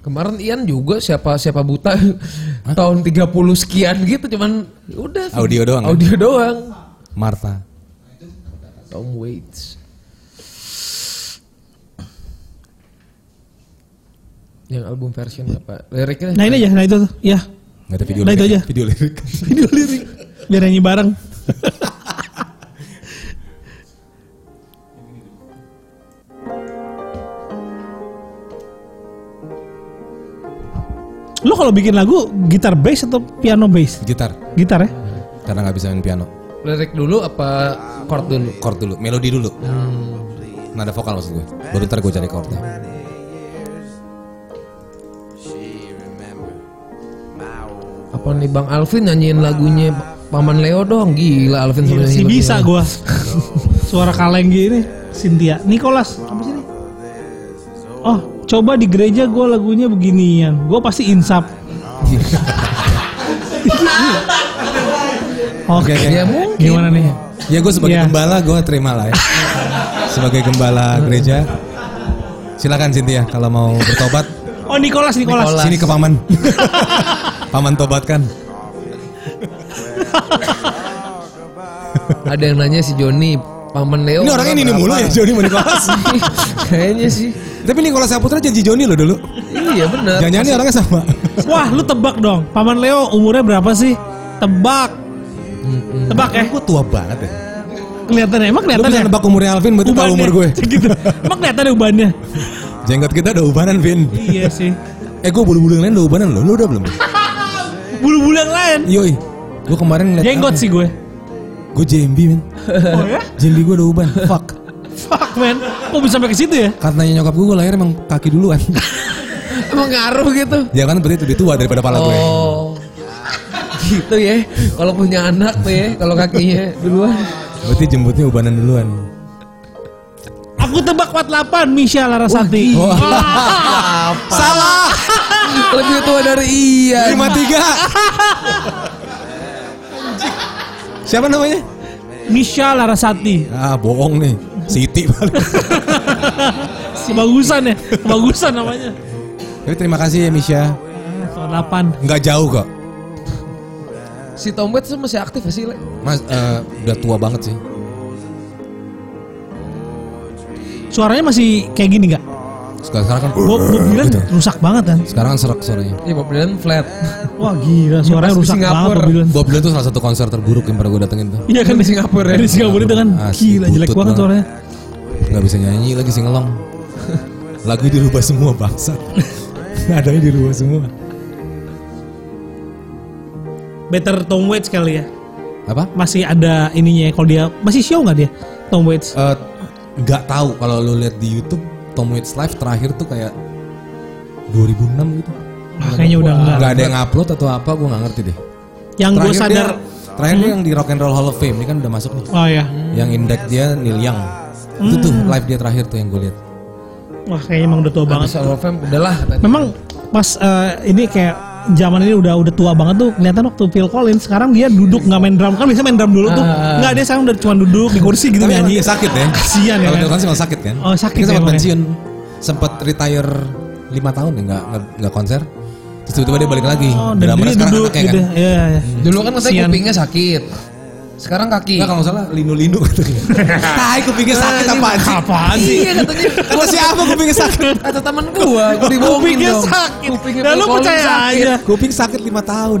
Kemarin Ian juga siapa siapa buta tahun 30 sekian gitu cuman udah Audio doang, ya? Audio doang. Martha. Tom Waits. Yang album version apa? Liriknya Nah ini aja. Nah itu tuh. Ya. Nggak ada video Nah, itu liriknya. aja. Video lirik. Video lirik. Biar nyanyi bareng. Lo kalau bikin lagu gitar bass atau piano bass? Gitar. Gitar ya? Karena nggak bisa main piano. lirik dulu apa chord dulu? Chord dulu, melodi dulu. Nada vokal maksud gue. Baru ntar gue cari chordnya. Apa nih Bang Alvin nyanyiin lagunya Paman Leo dong? Gila Alvin Iya, sama nyanyi Gila, sih lagunya. Iya, bisa gua. Suara kaleng gini. Cynthia, Nicholas, apa sih ini? Oh, coba di gereja gua lagunya beginian. Gua pasti insap. Oke. Oke, oke. Ya mungkin. Gimana nih? Ya gue sebagai Iya. gembala gue terima lah ya. sebagai gembala gereja. Silakan Cynthia kalau mau bertobat Oh, Nicholas, Nicholas. Nicholas. sini ke paman. paman tobatkan. Ada yang nanya si Joni Paman Leo. ini orang ini Iya, nih berapa? mulu ya Joni sama Nicholas. Kayaknya sih. Tapi Nicholas Saputra janji Joni loh dulu. Iya benar. Jangan-jangan ini orangnya sama. Wah, lu tebak dong. Paman Leo umurnya berapa sih? Tebak. Tebak ya. Gue tua banget ya. Kelihatan ya? Emang Lu kelihatan bisa ya? nebak umurnya Alvin berarti tahu Ubannya. umur gue. gitu. Emang kelihatan ya ubannya? Jenggot kita udah ubanan Vin. iya sih. Eh gue bulu-bulu yang lain udah ubanan loh. Lu udah belum? Bulu-bulu yang lain. Yoi. Gue kemarin ngeliat Jenggot sih gue. Gue JMB men. Oh ya? JMB gue udah uban. Fuck. Fuck man. Kok bisa sampai ke situ ya? Katanya nyokap gue, gue lahir emang kaki duluan. Emang ngaruh gitu. ya kan berarti lebih tua daripada pala gue. Oh. Gitu ya. Kalau punya anak tuh ya, kalau ya, kakinya duluan. Berarti jemputnya ubanan duluan. Aku tebak 48 Misha Larasati. Oh. Oh, Salah. Lebih tua dari iya. 53. Siapa namanya? Misha Larasati. Ah, bohong nih. Siti paling. Bagusan ya, bagusan namanya. Tapi terima kasih ya Misha. 48. Nggak jauh kok. Si Tombet tuh masih aktif gak sih, Le? Oh. Mas eh, udah tua banget sih. Suaranya masih kayak gini nggak? Sekarang, sekarang kan Bob, Bob Dylan Gitu. rusak banget kan? Sekarang kan serak suaranya. Ya Bob Dylan flat. Wah gila, suaranya pas di rusak banget Singapura. Bob Dylan. Bob Dylan tuh salah satu konser terburuk yang pernah gue datengin tuh. Iya kan di Singapura ya. Di Singapura itu kan Asli, gila jelek Ah, butut banget banget. suaranya. Gak bisa nyanyi lagi singelong. Lagu dirubah semua bangsa. Nadanya dirubah semua. Better Tom Waits kali ya. Apa? Masih ada ininya ya, kalau dia masih show nggak dia Tom Waits? Eh, nggak tahu kalau lu lihat di YouTube Tom Waits live terakhir tuh kayak 2006 gitu. Ah, kayaknya udah enggak. Gak ada yang upload atau apa gue nggak ngerti deh. Yang gue Terakhir sadar dia- terakhir dia yang di Rock and Roll Hall of Fame ini kan udah masuk nih. Oh ya. Yang indeks dia Neil Young. Itu tuh live dia terakhir tuh yang gue lihat. Wah, kayaknya emang udah tua banget. Soal of Fame udahlah. Memang pas eh, ini kayak zaman ini udah udah tua banget tuh kelihatan waktu Phil Collins sekarang dia duduk nggak main drum kan biasa main drum dulu tuh Ah. Oh, iya, nggak dia sekarang udah cuma duduk di kursi gitu Tapi emang nyanyi dia sakit ya. Kasian ya Kalau kan? Phil Collins emang sakit kan. Oh, sakit Dia sempat emang ya. pensiun, sempat retire 5 tahun ya nggak nggak- nggak konser. Terus tiba-tiba dia balik lagi. oh dan Drummernya dia sekarang duduk anaknya gitu kan. Iya, iya. Dulu kan katanya Kasihan. kupingnya sakit. Sekarang kaki. Nggak kalau nggak salah linu-linu katanya. Tai kupingnya sakit Eh, apaan sih? apaan sih Iya katanya. Kata siapa kupingnya sakit? Kata temen gua, gua dibohongin kupingnya dong. sakit Kupingnya dan lu Phil Collins percaya sakit. aja Kuping sakit 5 tahun.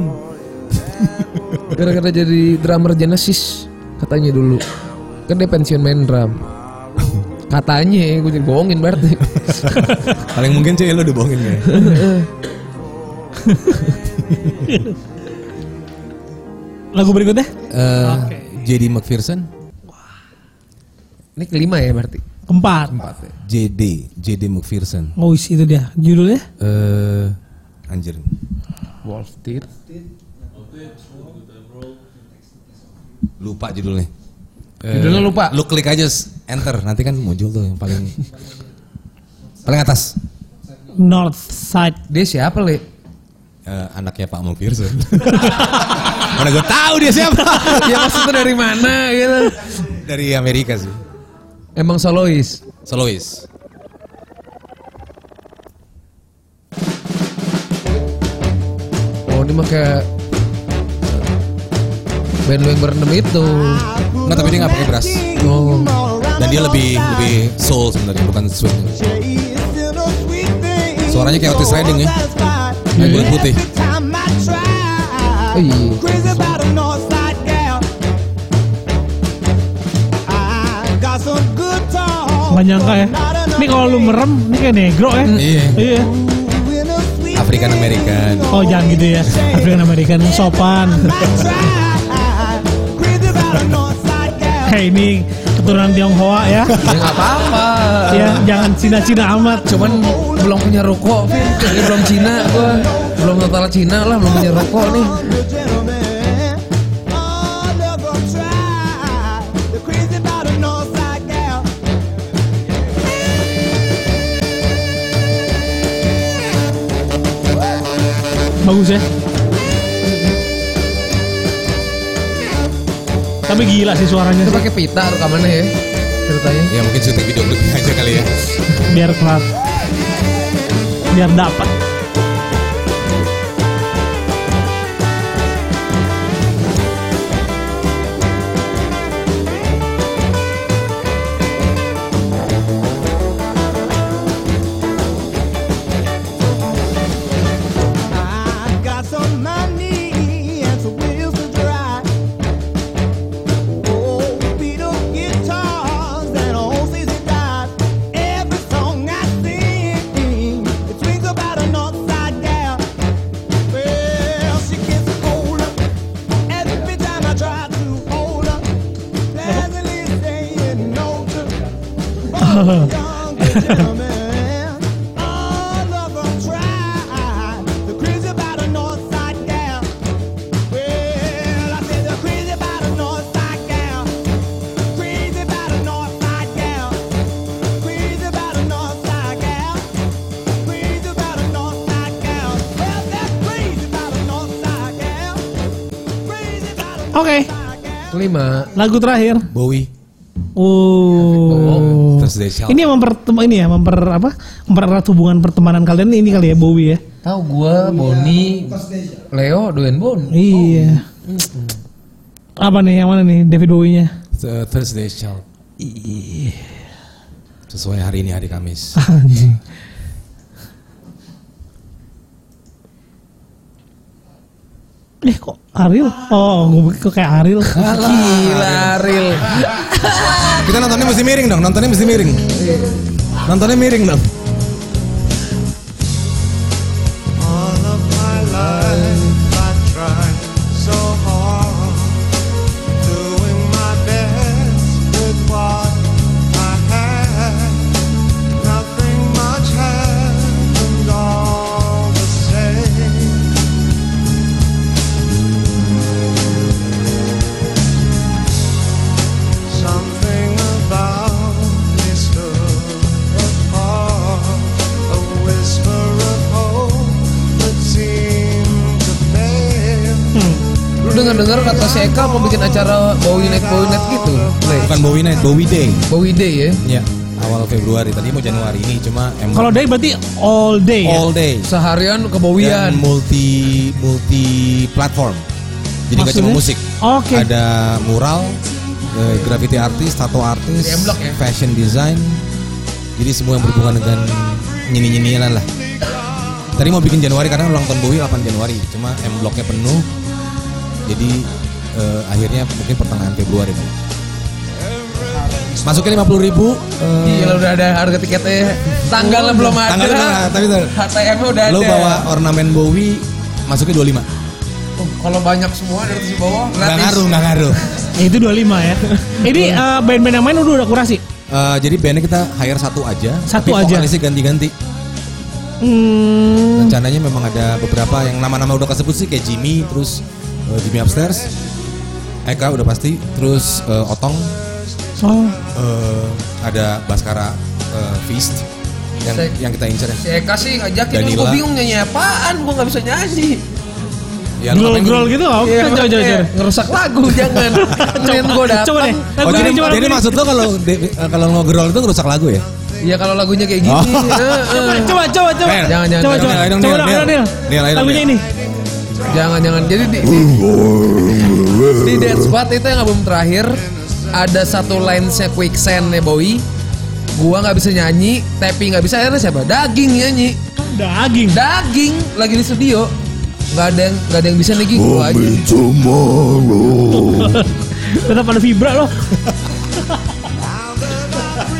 Gara-gara jadi drummer Genesis katanya dulu. Kan dia pensiun main drum. Katanya ya, gue dibohongin berarti. Paling mungkin cuy lu dibohongin ya. lagu berikutnya Eh, JD McPherson, Ini kelima ya berarti. ya? keempat JD, JD McPherson. oh isi itu dia judulnya Eh anjir. Wolf Teeth. Lupa judulnya. Judulnya lupa. Lu klik aja s- enter, nanti kan muncul tuh yang paling paling atas. North Side Dia siapa, Le? Eh, anaknya Pak McPherson. Mana gue tahu dia siapa. ya maksudnya dari mana gitu. Dari Amerika sih. Emang solois. Solois. Oh, ini mah kayak band lu yang berenam itu. Nggak, tapi dia nggak pakai brass. Oh. Dan dia lebih lebih soul sebenarnya, bukan swing. Suaranya kayak Otis Redding ya. Kayak kulit putih. Oh, iya. Gak nyangka ya Ini kalau lu merem Ini kayak negro ya Iya. Iya African American. Oh jangan gitu ya African American Sopan Kayak ini Keturunan Tionghoa ya Ya nggak apa-apa. Iya. Ya Jangan Cina-Cina amat Cuman belum punya rokok, Vin. Ini belum Cina gua. Belum total Cina lah, belum punya rokok nih. Bagus ya Tapi gila sih suaranya Itu sih. pakai pita rekamannya ya ceritanya. Ya mungkin syuting video klipnya aja kali ya. Biar kelar Biar dapat Oke, Kelima. lagu terakhir. Bowie Oh. terus dari Shelter. Ini yang memper ini ya memper apa mempererat hubungan pertemanan kalian ini kali ya Bowie ya. Tahu gua Boni, Leo, Doen Bon. Iya. Apa nih yang mana nih David Bowie-nya? Th- Thursday Iya. Child. Sesuai hari ini hari Kamis. Anjing. Eh kok Ariel? Oh, gue pikir kok kayak Ariel. Gila, Ril. Kita nontonnya mesti miring dong, nontonnya mesti miring. Nontonnya miring dong. All of my life I've tried so hard, doing my best with what I had. Nothing much happened all the same. Something about me stood apart, a whisper of hope that seemed to fail. Lu denger-denger kata si Eka mau bikin acara Bowie Night Bowie Night gitu. Le. Bukan Bowie Night, Bowie Day. Bowie Day ya. Ya, awal Februari. Tadi mau Januari ini cuma emang Kalau day berarti all day ya? all day. Seharian Dan kebowian. multi multi platform. Jadi nggak cuma Maksudnya? musik. Oke. Ada mural, eh, graffiti artis, tato artis, Jadi emblok ya? fashion design. Jadi semua yang berhubungan dengan nyinyi-nyinyian lah. Tadi mau bikin Januari karena ulang tahun Bowie 8 Januari, cuma M bloknya penuh. Jadi eh, akhirnya mungkin pertengahan Februari. Bang. Masuknya 50 ribu, Gila udah ada harga tiketnya. Tanggalnya belum ada. Oh, Tanggalnya belum ada, tapi bentar. HTM-nya udah ada. lo bawa ornamen Bowie, masuknya 25. Oh, Kalau banyak semua dari atas ke bawah Nggak gratis. ngaruh, nggak ngaruh. Ya, itu 25 ya. Ini eh, band-band yang main udah udah kurasi. Eh, jadi bandnya kita hire satu aja, Satu tapi aja. vokalisnya ganti-ganti. Hmm, Rencananya memang ada beberapa yang nama-nama udah kesebut sih kayak Jimmy, terus eh, Jimmy upstairs, Eka udah pasti, terus eh, Otong, oh, eh, ada Baskara eh, Feast yang Sek. yang kita incer Si Eka sih ngajakin Danila. gue bingung nyanyi apaan, gue nggak bisa nyanyi. ya. lu ngapain grol-grol gitu nggak? Iya, coba, coba, makanya coba. Ngerusak lagu jangan. Kemudian gue datang. Coba deh, Oh, lagu ini jadi, coba jadi lagu ini. maksud lo kalau de- eh, kalau ngobrol itu ngerusak lagu ya? Iya kalau lagunya kayak gini. Oh. eh, eh. Coba, coba, coba. Nel, jangan, jangan, Coba, jangan. coba. Nel, ayo dong, Coba Nel, dong, Nel. Nel, Nel. Nel, ayo dong, Lagunya Nel. ini. Jangan jangan. Jadi di, di, di Dead Spot itu yang album terakhir ada satu lines-nya quicksand ya Bowie. Gua nggak bisa nyanyi, tapi nggak bisa akhirnya siapa? Daging nyanyi. Daging. Daging lagi di studio. Gak ada yang gak ada yang bisa nih Gi. gua aja. Tetap ada vibra loh.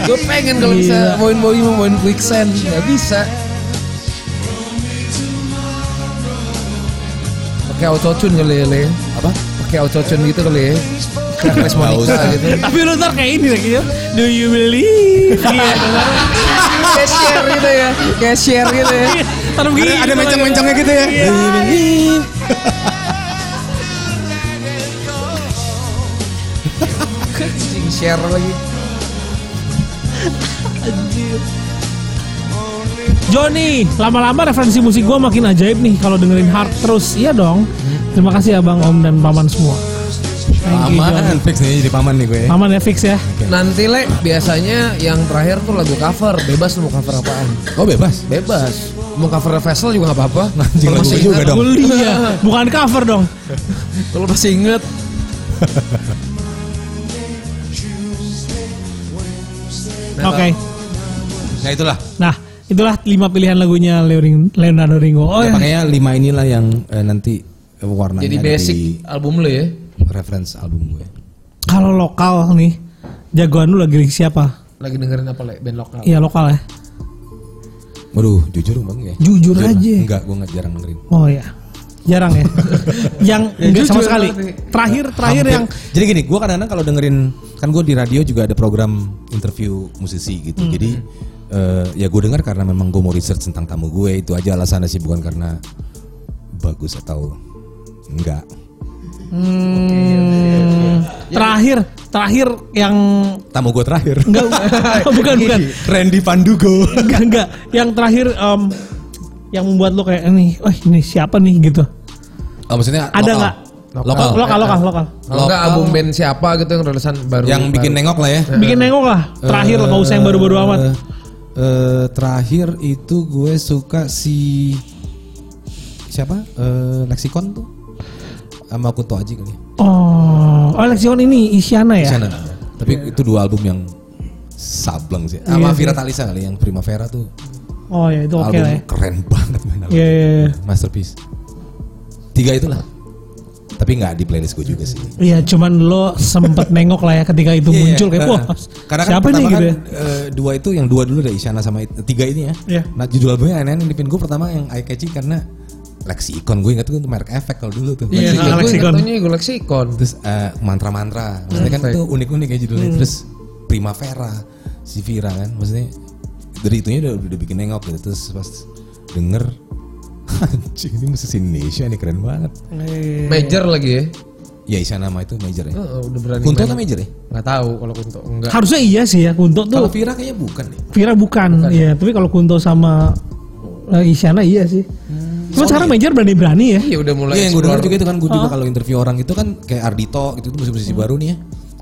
Gue pengen kalau bisa Gila. bawain Bowie mau bawain quicksand, nggak bisa. Pakai autotune kali ya, Le. Apa? Pakai autotune gitu kali ya. Kayak Chris Nggak Monica usah. gitu. Tapi lu ntar kayak ini lagi ya. Do you believe? Iya. Kayak share gitu ya. Kayak share gitu ya. Taruh begini. Ada mencong-mencongnya gitu ya? Iya. Anjing, share lagi. Joni, lama-lama referensi musik gua makin ajaib nih kalau dengerin hard terus. Iya dong. Terima kasih abang, om dan paman semua. Thank you, Joni. Paman, fix nih jadi paman nih gue. Paman ya fix ya. Nanti Le, biasanya yang terakhir tuh lagu cover. Bebas lu mau cover apaan. Oh bebas. Bebas. Mau cover Vessel juga gak apa-apa. Anjing, Kalau lagu masih gue juga ingat. dong. Kuliah, bukan cover dong. Kalau masih inget. Oke. Nah itulah. Nah, itulah lima pilihan lagunya Leoring- Leonardo Ringo. Oh, Ya, ya. makanya lima inilah yang eh, nanti eh, warnanya Jadi ada basic di album lu ya. reference album gue. Kalau lokal nih, jagoan lu lagi siapa? Lagi dengerin apa Le? Band lokal. Iya lokal ya. Waduh, jujur bang ya. Jujur aja. Enggak, gue nggak jarang dengerin. Oh ya. Jarang ya. yang Ya, enggak sama jujur sekali. berarti. Terakhir terakhir Hampir. yang jadi gini, gue kadang-kadang kalau dengerin kan gue di radio juga ada program interview musisi gitu. Jadi eh, ya gue dengar karena memang gue mau research tentang tamu gue itu aja alasannya sih bukan karena bagus atau enggak. terakhir terakhir yang Tamu gue terakhir enggak bukan bukan Randy Pandugo. enggak enggak yang terakhir em, yang membuat lo kayak ini, wah ini siapa nih gitu. Oh, maksudnya Ada lokal. nggak? Oh. Lokal. lokal lokal lokal Kalau enggak Lokal. album band siapa gitu yang rilisan baru. Iya, yang bikin baru. nengok lah ya. bikin nengok lah terakhir lah nggak usah yang Iya, baru-baru amat Eh, eh, terakhir itu gue suka si siapa? Eh, Lexicon tuh sama Kuto Aji kali. ya. oh oh Lexion ini Isyana ya Sana. Tapi itu dua album yang sableng sih. Sama Vira Talisa kali yang Primavera tuh. oh ya itu oke album lah ya keren banget main album. Iya, iya, iya. Masterpiece. Tiga itulah. Tapi nggak di playlist gue juga sih. Iya, cuman lo sempet nengok lah ya ketika itu Iya, muncul kayak iya. wah. Karena kan siapa nih pertama gitu kan, ya? eh, dua itu yang dua dulu dari Isyana sama it- tiga ini ya. Iya. Nah judul albumnya aneh-aneh yang dipin gue pertama yang eye catching karena Lexicon gue ingat tuh itu merek efek kalau dulu tuh. Iya, Lexicon. gue Lexicon. Iya. ingatnya gue Lexicon. Terus eh, mantra-mantra. Maksudnya kan Hmm. itu unik-unik ya judulnya. Hmm. Terus Primavera si Vira kan. Maksudnya dari itunya udah, udah bikin nengok gitu. Terus pas denger anjing ini musisi Indonesia nih keren banget. iya. Major lagi ya. Ya Isyana sama itu major ya. Oh, Eh, udah berani. Kunto main. kan major ya? Nggak tahu kalau Kunto enggak. Harusnya iya sih ya Kunto tuh Kalau Vira kayaknya bukan deh. Vira bukan, Iya, tapi kalau Kunto sama eh, Isyana iya sih. Hmm. Cuma sekarang Major berani-berani ya. Iya udah mulai Iya yang gue explore. denger juga itu kan gue juga kalau interview orang itu kan kayak Ardito gitu itu musisi-musisi Hmm. baru nih ya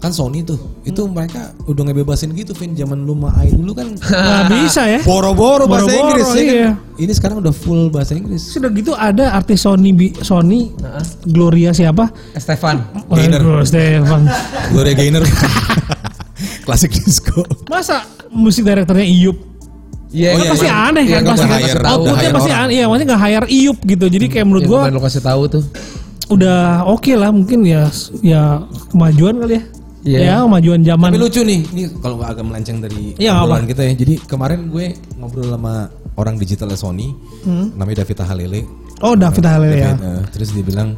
kan Sony tuh itu mereka udah ngebebasin gitu Vin zaman lu main dulu kan Nggak bisa ya. boro-boro bahasa Boro-boro, Inggris ya kan? iya. ini sekarang udah full bahasa Inggris Sudah gitu ada artis Sony Bi- Sony Ah. Gloria siapa? Stefan. Oh, Waduh, Gaynor. Stefan. Gloria Gaynor klasik disco Masa musik direkturnya Iyup? Iya, Kan iya, pasti iya. aneh Iya, kan nggak pasti usah kan. hire, nggak Outputnya usah pasti hire orang. Iya, aneh. Iya, maksudnya nggak hire Iyup gitu. Jadi kayak menurut gua Gua lo kasih tahu tuh. udah oke lah mungkin ya ya kemajuan kali ya. Iya. Ya kemajuan zaman. tapi lucu nih ini kalau agak melenceng dari Iya, nggak obrolan kita ya jadi kemarin gue ngobrol sama orang digitalnya Sony namanya Davita Halele Hmm. Oh David Halil ya. David, eh, terus dia bilang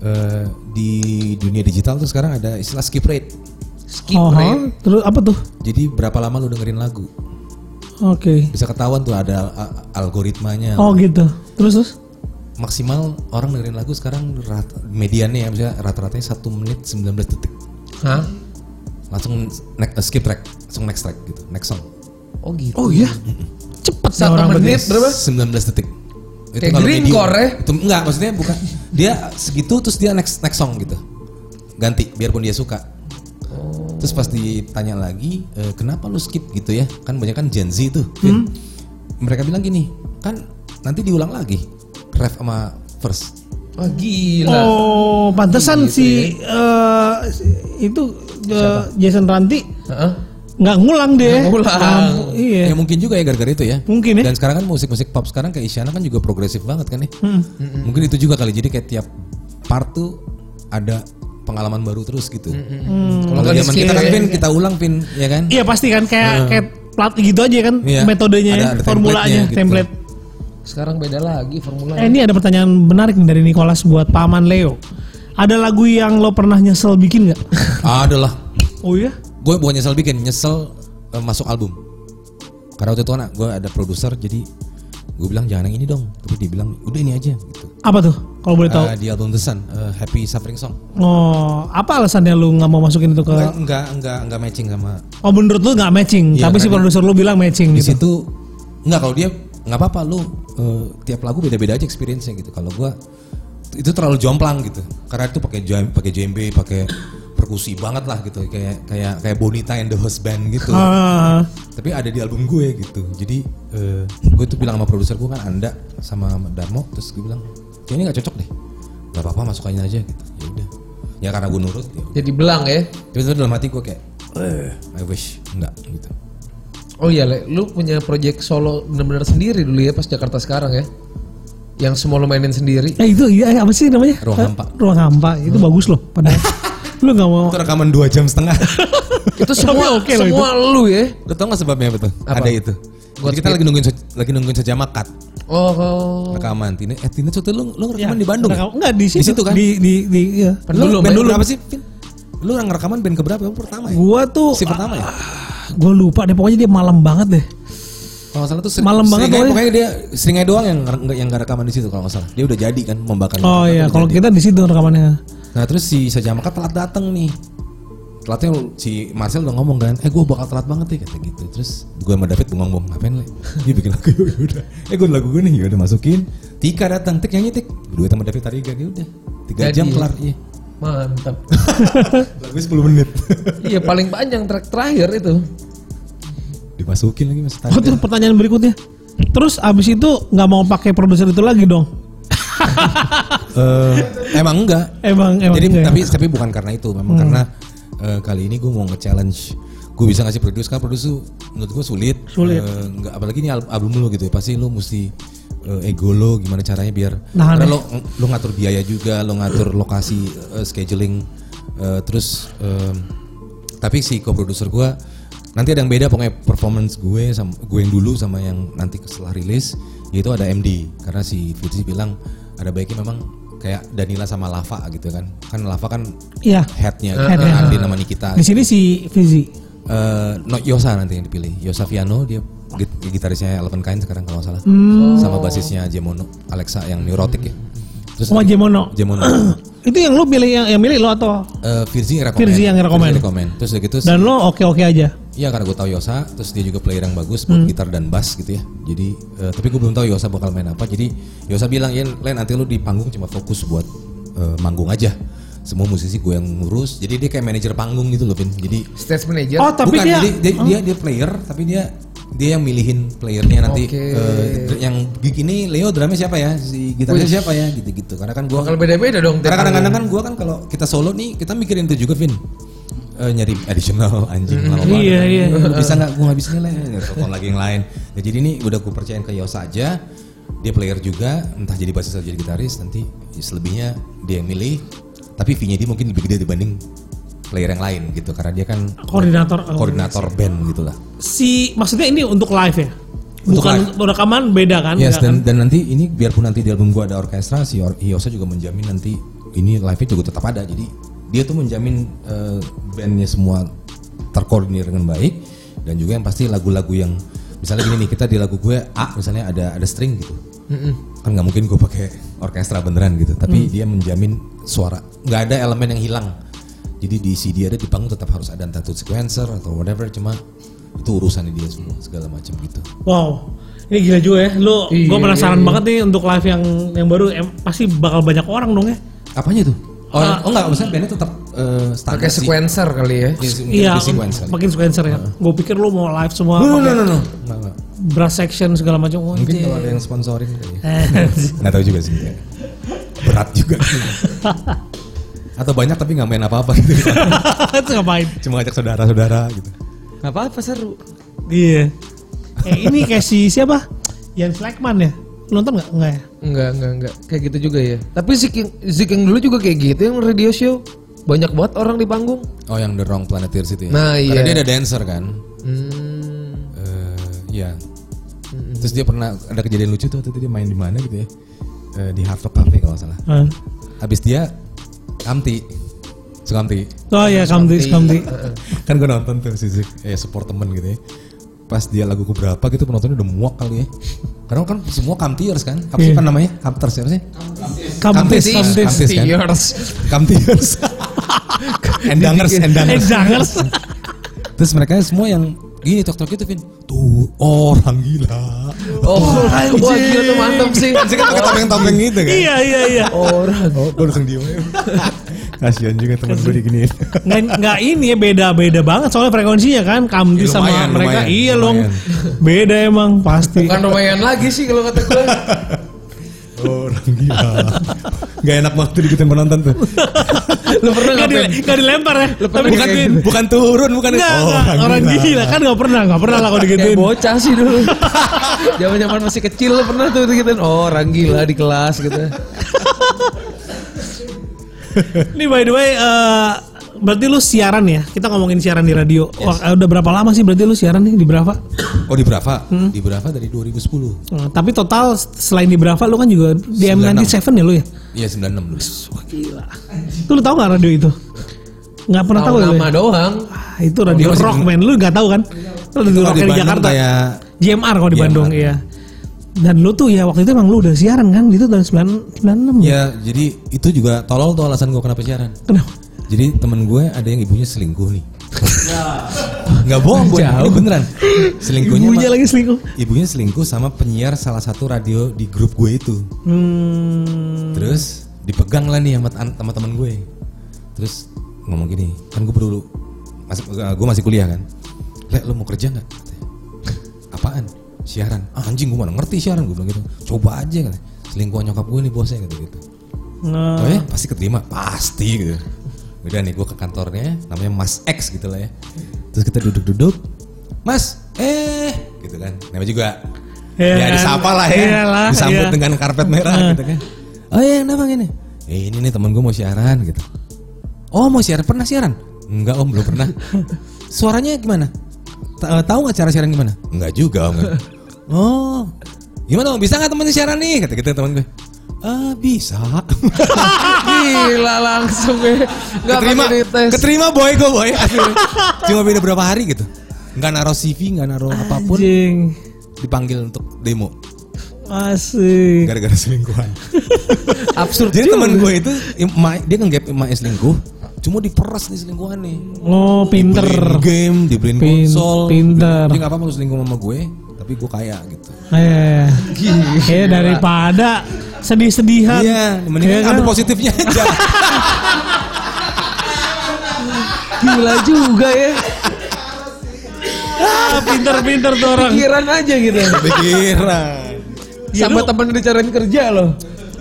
eh, di dunia digital tuh sekarang ada istilah skip rate. Skip Oh, rate. terus apa tuh? Jadi berapa lama lu dengerin lagu? Oke. Bisa ketahuan tuh ada a- algoritmanya. Oh gitu. Terus terus. Maksimal orang dengerin lagu sekarang rat- mediannya ya misalnya rata-ratanya 1 menit 19 detik. Hah? Langsung ne- skip track, langsung next track gitu, next song. Oh gitu. Oh iya. Cepet ya Satu orang menit berarti. berapa? 19 detik. Itu Kayak kalau greencore medium. ya? Itu enggak, maksudnya bukan. Dia segitu terus dia next next song gitu. Ganti biarpun dia suka. Terus pas ditanya lagi, "E, kenapa lu skip gitu ya? Kan banyak kan Gen Z tuh. Vin. Mereka bilang gini, kan nanti diulang lagi. Ref sama first. Oh gila. Oh pantesan si eh, itu eh, Jason Ranti Heeh. nggak ngulang deh. Nggak ngulang. Kamu- iya. Ya mungkin juga ya gara-gara itu ya. Mungkin ya. Dan sekarang kan musik-musik pop sekarang kayak Isyana kan juga progresif banget kan ya. Mungkin itu juga kali. Jadi kayak tiap part tuh ada pengalaman baru terus gitu. Kalau Kalau nggak zaman kita kan di-skip pin ya. kita ulang pin ya kan? Iya pasti kan kayak kayak plat gitu aja kan Iya. metodenya, Ada- ya, ada formulanya, template-nya gitu. template. Sekarang beda lagi formula. Eh, ini ada pertanyaan menarik nih dari Nicholas buat paman Leo. Ada lagu yang lo pernah nyesel bikin nggak? Ah, Adalah. oh iya. Gue bukan nyesel bikin, nyesel eh, masuk album. Karena waktu itu anak gue ada produser jadi gue bilang jangan yang ini dong. Tapi dia bilang udah ini aja gitu. Apa tuh? Kalau boleh tahu. Eh, di album The Sun, eh, Happy Suffering Song. Oh, apa alasannya lu nggak mau masukin itu ke? Enggak, enggak, enggak, enggak matching sama Oh, menurut lu nggak matching, Iya, tapi si karena produser lu bilang matching di gitu. situ nggak kalau dia nggak apa-apa lu eh, tiap lagu beda-beda aja experience-nya gitu kalau gua itu terlalu jomplang gitu karena itu pakai jam pakai jembe pakai perkusi banget lah gitu kayak kayak kayak Bonita and the Husband gitu Ah, tapi ada di album gue gitu jadi eh, gue tuh bilang sama produser gue kan anda sama Darmo terus gue bilang kayak ini nggak cocok deh nggak apa-apa masukannya aja gitu ya udah ya karena gue nurut ya Jadi belang ya. tapi sebenarnya dalam hati gue kayak eh I wish enggak gitu Oh iya, Le, lu punya project solo benar-benar sendiri dulu ya pas Jakarta sekarang ya. Yang semua lu mainin sendiri. eh itu iya eh, apa sih namanya? Ruang Eh, hampa. Hmm. Ruang hampa itu bagus loh. Padahal lu nggak mau. itu rekaman dua jam setengah itu semua oke loh semua lu ya. Lo tau gak sebabnya apa tuh? Apa? Ada itu. Buat Jadi kita speed. lagi nungguin se- lagi nungguin saja makat Oh, oh. rekaman Tina. Eh Tina Cut, lu lu ngerekaman di Bandung. Rekam- Iya. Nggak di situ. Di situ kan? Di di, di iya. Pan Lu dulu, main band dulu dulu. berapa sih? Vin? Lu yang ngerekaman band keberapa? Lu pertama ya? Gua tuh Si pertama ya? gue lupa deh pokoknya dia malam banget deh. Kalau nggak salah tuh sering, Malam banget seringai- pokoknya. pokoknya dia seringai doang yang nggak yang nggak rekaman di situ kalau nggak salah. Dia udah jadi kan membakar. Oh iya, kalau kita di situ rekamannya. Nah terus si Saja Maka telat datang nih Telatnya si Marcel udah ngomong kan Eh gue bakal telat banget ya kata gitu Terus gue sama David bengong-bengong Ngapain le? Dia bikin lagu ya yaudah Eh gue lagu gue nih yaudah masukin Tika datang Tik nyanyi Tik Berdua sama David Tariga yaudah Tiga Jadi- jam kelar. Iya. Mantap. Lagu 10 menit. iya paling panjang track terakhir itu. Dimasukin lagi mas. Oh, terus pertanyaan berikutnya. Terus abis itu nggak mau pakai produser itu lagi dong? Eh, emang enggak. Emang emang. Jadi enggak ya? Hmm. tapi tapi bukan karena itu, memang karena eh, kali ini gue mau nge-challenge gue bisa ngasih produce kan produce tuh menurut gue sulit. Sulit. Eh, nggak apalagi ini al- album lo gitu ya. Pasti lo mesti eh, ego lo gimana caranya biar Nahan karena ya. lo lo ngatur biaya juga, lo ngatur lokasi eh, scheduling eh, terus em, tapi si co-producer gue nanti ada yang beda pokoknya performance gue sama gue yang dulu sama yang nanti setelah rilis yaitu ada MD karena si Fitri bilang ada baiknya memang kayak Danila sama Lava gitu kan kan Lava kan Iya. headnya Head, kan head. Andi nama Nikita Di sini si Fizi. Eh, no, Yosa nanti yang dipilih Yosa Viano dia git- gitarisnya Eleven Kind sekarang kalau nggak salah Hmm. sama basisnya Jemono Alexa yang neurotik ya terus Sama Jemono. Jemono itu yang lo pilih yang, yang milih lo atau Eh, Virzi yang rekomen. Virzi yang rekomen. Terus udah gitu, dan lo oke oke aja. iya karena gue tahu Yosa, terus dia juga player yang bagus Hmm. buat gitar dan bass gitu ya. Jadi, eh, tapi gue belum tahu Yosa bakal main apa. Jadi Yosa bilang, ya Len nanti lu di panggung cuma fokus buat eh, manggung aja. Semua musisi gue yang ngurus. Jadi dia kayak manajer panggung gitu loh, Vin. Jadi Stage manager. Oh tapi Ya, bukan, dia, jadi dia, dia dia player, tapi dia dia yang milihin playernya nanti Oke. eh, dr- yang gig ini Leo drumnya siapa ya si gitarnya Wih. siapa ya gitu-gitu karena kan gue Bakal beda-beda dong. tiap karena orang. kadang-kadang kan gue kan kalau kita solo nih kita mikirin itu juga Vin Eh, nyari additional anjing lama banget. Iya, iya. Lu bisa nggak gue bisa nilai Ya, telepon lagi yang lain ya, jadi ini udah gue percayain ke Yos aja dia player juga entah jadi basis atau jadi gitaris nanti ya, selebihnya dia yang milih tapi fee-nya dia mungkin lebih gede dibanding player yang lain gitu karena dia kan Koordinator. koordinator band gitu lah si maksudnya ini untuk live ya. Untuk Bukan live. untuk rekaman beda kan? Yes, Nggak dan, kan? dan nanti ini biarpun nanti di album gua ada orkestra, si Or- Hiosa juga menjamin nanti ini live-nya juga tetap ada. Jadi dia tuh menjamin eh, bandnya semua terkoordinir dengan baik dan juga yang pasti lagu-lagu yang misalnya gini nih kita di lagu gue A misalnya ada ada string gitu kan nggak mungkin gue pakai orkestra beneran gitu Mm. tapi dia menjamin suara nggak ada elemen yang hilang jadi di CD ada di panggung tetap harus ada entah itu sequencer atau whatever cuma itu urusannya dia semua segala macam gitu Wow. Ini gila juga ya. Lo Iya, gue penasaran iya, iya. banget nih untuk live yang yang baru em, pasti bakal banyak orang dong ya. Apanya tuh? Oh, Ah. oh enggak, maksudnya bandnya tetap eh, standar pakai sih. sequencer kali ya. Iya, mungkin Iya, di sequence kali. makin sequencer ya. Gue pikir lo mau live semua No, no, pakai no, no, no. Enggak, enggak. brass section segala macam. Oh, Mungkin anjing. kalau ada yang sponsorin kali ya. Eh, Enggak tahu juga sih. kayak Berat juga. Atau banyak tapi nggak main apa-apa gitu. Itu ngapain? Cuma ngajak saudara-saudara gitu. Gak apa-apa seru. Iya. Eh ini kayak si siapa? Jens Lekman ya? Lu nonton nggak? Nggak ya? Enggak, enggak, enggak. Kayak gitu juga ya. Tapi Ziking, Ziking dulu juga kayak gitu yang radio show. Banyak banget orang di panggung. Oh, yang The Wrong Planet Earth itu ya. Nah, iya. Karena dia ada dancer kan. Hmm. Eh, Iya. Terus dia pernah ada kejadian lucu tuh waktu itu dia main di mana gitu ya. Eh, di Hard Rock Cafe kalau nggak salah. Hah? Habis dia Kamti. Sukamti. Oh iya, Kamdi, Kamdi. kan gue nonton tuh sih eh support temen gitu ya pas dia lagu keberapa gitu penontonnya udah muak kali ya karena kan semua kamtiers kan apa sih Iya. kan namanya kamters siapa sih Kamtis, Kamtis. Kamtis. Kamtis, kan? Tears. kamtiers endangers Eh, endangers jangers. terus mereka semua yang gini tok tok gitu Vin tuh orang gila Oh, wah gila tuh mantap sih. sih kan pakai topeng topeng gitu kan Iya, iya, iya. Orang. oh gue langsung diem aja. kasian juga temen gue diginiin Nggak, nggak ini ya beda-beda banget soalnya frekuensinya kan Kamdi Ya, sama lumayan, mereka. lumayan, iya dong. lumayan. Beda emang pasti. Bukan lumayan lagi sih kalau kata gue. orang gila gak enak banget tuh diikutin penonton tuh Lu pernah Nggak nggak di- Pen? nggak dilempar ya. Tapi bukan digituin. bukan turun bukan Nggak, nggak, orang gila. Kan nggak pernah, nggak pernah lah kalau Kayak digituin. bocah sih dulu. Zaman-zaman masih kecil lu pernah tuh gitu Oh, orang gila di kelas gitu. Ini by the way, eh, berarti lu siaran ya? Kita ngomongin siaran di radio. Wah, eh, udah berapa lama sih berarti lu siaran nih di berapa? Oh di Brava? Hmm? Di Brava dari 2010. Eh, tapi total selain di Brava lu kan juga di 96. M97 ya lu ya? Iya 96 dulu. Wah gila. Itu lu tahu nggak radio itu? Nggak pernah tahu Tahu ya, lu nama ya? doang. Ah, itu radio Dia masih rock di- man, lu nggak tahu kan? Lu radio Kalau rock di, Bandung Jakarta. kayak JMR kalau di JMR. Bandung iya. Dan lu tuh ya waktu itu emang lu udah siaran kan? Itu tahun 9- 96 ya? ya jadi itu juga tolol tuh alasan gue kenapa siaran. Kenapa? Jadi temen gue ada yang ibunya selingkuh nih. Nggak bohong gue, ini Jauh. beneran. Selingkuhnya Nah. Ibunya sama- lagi selingkuh. Ibunya selingkuh sama penyiar salah satu radio di grup gue itu. Hmm, Terus dipegang lah nih sama tan- sama teman gue terus ngomong gini kan gue baru masih gue masih kuliah kan le lo mau kerja nggak Katanya. apaan siaran ah, anjing gue mana ngerti siaran gue bilang gitu coba aja kan selingkuhan nyokap gue nih bosnya gitu gitu Nah, Oh ya pasti keterima pasti gitu. Udah nih gue ke kantornya namanya Mas X gitu lah ya. Terus kita duduk-duduk, Mas eh gitu kan. Namanya juga Iya ya kan? disapa lah ya, Iyalah, disambut iya. dengan karpet merah gitu kan. Oh iya kenapa gini? Eh, ini nih temen gue mau siaran gitu. Oh mau siaran pernah siaran? Enggak om belum pernah. Suaranya gimana? Ta- eh, Tahu nggak cara siaran gimana? Enggak juga om. oh gimana om bisa nggak temen siaran nih? Kata gitu temen gue. Eh bisa. Gila langsung ya. Gak keterima, pakai dites. keterima boy gue boy. Asli. Cuma beda berapa hari gitu. Nggak naruh CV, nggak naruh apapun. anjing. Dipanggil untuk demo Asik. gara-gara selingkuhan. Absurd Jadi juga. teman gue itu ima- dia nge-gap emaknya selingkuh. Cuma diperas nih selingkuhan nih. Oh, pinter. Dibeliin game, dibeliin Pin- konsol. pinter. Dia nggak apa-apa lu selingkuh sama gue, tapi gue kaya gitu. Eh, eh daripada sedih-sedihan. Iya, Iya mendingan kan? ambil positifnya aja. Gila juga ya. Ah, pinter-pinter tuh orang. Iya. Pikiran aja gitu. Pikiran. Sama temen dicariin kerja loh.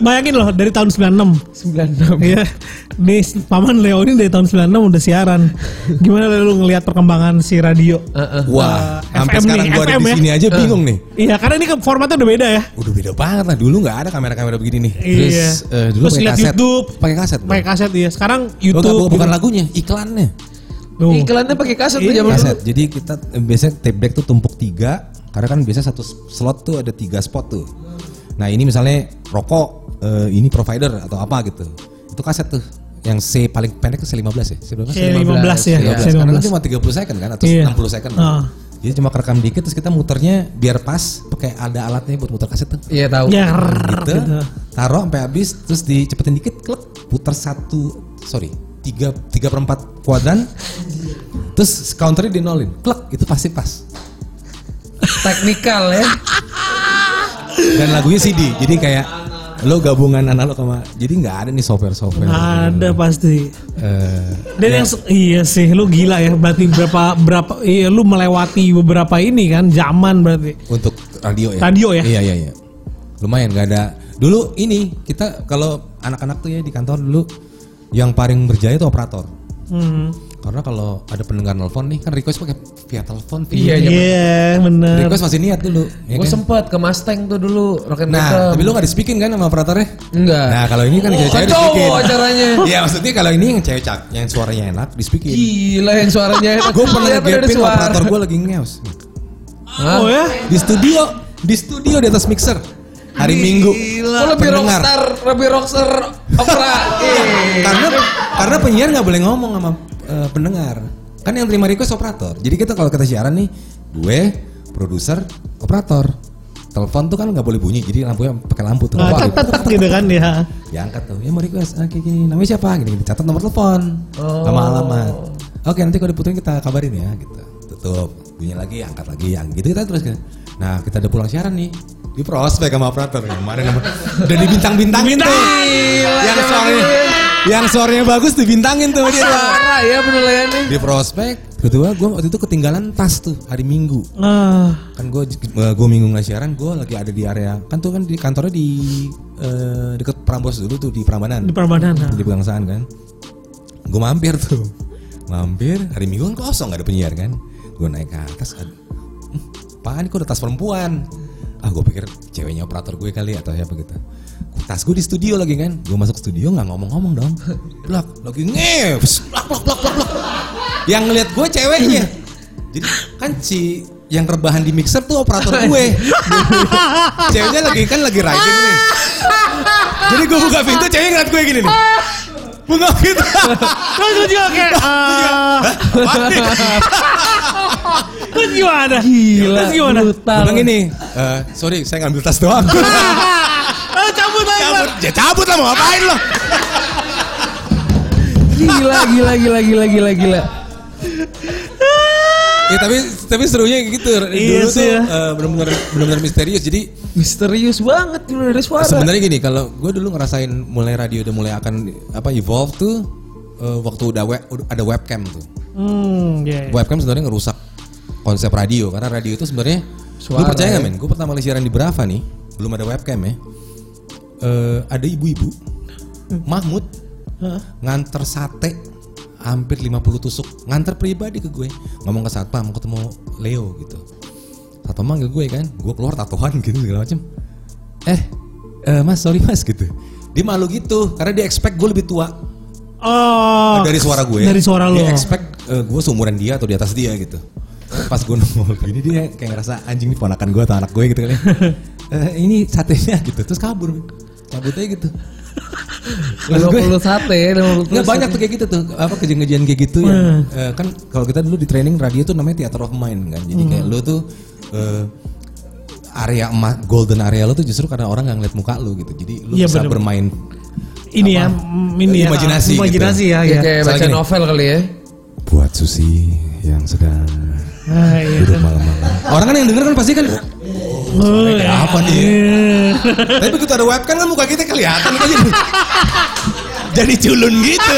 Bayangin loh dari tahun 96. 96. Iya. Nih paman Leo ini dari tahun 96 udah siaran. Gimana lu ngelihat perkembangan si radio? Heeh. Wah, Eh, sampai FM sekarang nih, gue ada FM di ya. sini aja bingung nih. Iya, karena ini ke formatnya udah beda ya. Udah beda banget lah dulu nggak ada kamera-kamera begini nih. Iya. eh, dulu Terus pakai lihat kaset. YouTube. pakai kaset. Bang. Pakai kaset ya. Sekarang Oh, nggak, YouTube. gitu. bukan, bukan lagunya, iklannya. Tuh. Iklannya pakai kaset tuh Iya. zaman dulu. Kaset. Jadi kita eh, biasanya tape deck tuh tumpuk tiga, karena kan biasa satu s- slot tuh ada tiga spot tuh. Nah ini misalnya rokok, eh, ini provider atau apa gitu. Itu kaset tuh. Yang C paling pendek tuh C15 ya? C15. C15 ya. Iya. C15. Karena nanti cuma 30 second kan atau Iya. 60 second. Ah. Jadi cuma kerekam dikit terus kita muternya biar pas pakai ada alatnya buat muter kaset tuh. Iya tahu. Ya, gitu, gitu. taruh sampai habis terus dicepetin dikit klek putar satu sorry tiga tiga per empat kuadran terus counternya di nolin klek itu pasti pas Teknikal ya. dan lagunya CD jadi kayak lo gabungan analog sama jadi nggak ada nih software software Ada pasti. Eh, Dan yang se- iya sih lu gila ya berarti berapa berapa iya lu melewati beberapa ini kan zaman berarti. untuk radio ya Radio ya? iya iya iya lumayan nggak ada dulu ini kita kalau anak-anak tuh ya di kantor dulu yang paling berjaya itu operator Hmm. karena kalau ada pendengar nelfon nih kan request pakai via telepon via Iya, Iya, iya. bener. Request masih niat dulu. ya Gue kan? sempet ke Mustang tuh dulu Rock and Nah, Rhythm. tapi lu gak dispikin kan sama operatornya? Enggak. Nah, kalau ini kan Oh, cewek-cewek kacau dispikin. acaranya. Iya, maksudnya kalau ini yang cewek cak, yang suaranya enak dispikin. Gila yang suaranya enak. Gue pernah Lihat ada ngegapin Iya, suara. operator gue lagi ngeos. Hah? oh ya? Di studio, di studio di atas mixer. Hari Minggu. Lu lebih Pendengar. rockstar, lebih rockstar opera. Eh. Karena karena penyiar nggak boleh ngomong sama eh, pendengar. Kan yang terima request operator. Jadi kita kalau kita siaran nih, gue, produser, operator. Telepon tuh kan nggak boleh bunyi, jadi lampunya pakai lampu tuh. Nah, tet Wah, tet- tet gitu kan ya. diangkat tuh ya mau request ah, kayak gini namanya siapa gini, gini catat nomor telepon nama alamat oke nanti kalau diputuhin kita kabarin ya gitu tutup bunyi lagi angkat lagi yang gitu kita terus gitu. nah kita udah pulang siaran nih di prospek sama operator ya. kemarin sama- udah dibintang-bintangin tuh yang suaranya yang suaranya bagus dibintangin tuh dia Parah ya penilaiannya. di prospek kedua gue waktu itu ketinggalan tas tuh hari minggu Ah, kan gue gue minggu nggak siaran gue lagi ada di area kan tuh kan di kantornya di eh, deket Prambos dulu tuh di Prambanan di Prambanan. ah. di Pegangsaan kan gue mampir tuh mampir hari minggu kan kosong gak ada penyiar kan gue naik ke atas ad- "Hmm, apaan kok ada tas perempuan ah gue pikir ceweknya operator gue kali atau siapa gitu tas gue di studio lagi kan gue masuk studio nggak ngomong-ngomong dong blak lagi ngeps blak blak blak blak blak yang ngeliat gue ceweknya jadi kan si yang rebahan di mixer tuh operator gue ceweknya lagi kan lagi riding nih jadi gue buka pintu ceweknya ngeliat gue gini nih Bunga gitu. Terus lu juga kayak ah, terus gimana? Gila, Terus gimana? brutal. Bilang gini, "Eh, sorry saya ngambil tas doang. Ah, cabut lagi. Bang. cabut, ya cabut lah mau ngapain lo? Gila, gila, gila, gila, gila, gila. Ya tapi tapi serunya gitu dulu Iya sih tuh ya. eh, benar-benar benar-benar misterius jadi Misterius banget gimana dari suara. sebenarnya gini kalau gue dulu ngerasain mulai radio udah mulai akan apa evolve tuh eh, waktu udah we- udah ada webcam tuh Hmm, iya, iya. webcam sebenarnya ngerusak konsep radio karena radio itu sebenarnya gue Suara, percaya nggak iya. ya. men gue pertama kali siaran di Brava nih belum ada webcam ya Eh, ada ibu-ibu Mahmud nganter sate hampir 50 tusuk nganter pribadi ke gue ngomong ke satpam mau ketemu Leo gitu satpam manggil gue kan gue keluar tatoan gitu segala macem eh eh, mas sorry mas gitu dia malu gitu karena dia expect gue lebih tua Oh, dari suara gue. Dari suara lo. Dia expect eh, gue seumuran dia atau di atas dia gitu. Pas gue nongol gini dia kayak ngerasa anjing nih ponakan gue atau anak gue gitu kali. ya. Eh, ini satenya gitu. Terus kabur. Cabut aja gitu. Maksud gue- 50 sate, 50 Nggak banyak tuh kayak gitu tuh apa kejadian-kejadian kayak gitu ya. Hmm. Eh, kan kalau kita dulu di training radio tuh namanya theater of mind kan. Jadi Hmm. kayak lu tuh eh, area emas golden area lu tuh justru karena orang nggak ngeliat muka lu gitu. Jadi lu Iya, bisa bener. bermain ini ya, apa? mm, ini ya. Imajinasi gitu. Imajinasi ya, Ya, kayak ya. Misalnya baca gini. novel kali ya. buat Susi yang sedang Ah, iya. duduk malam-malam. Orang kan yang denger kan pasti kan Oh, kayak iya. apa nih? Tapi begitu ada webcam kan muka kita kelihatan kita jadi jadi culun gitu.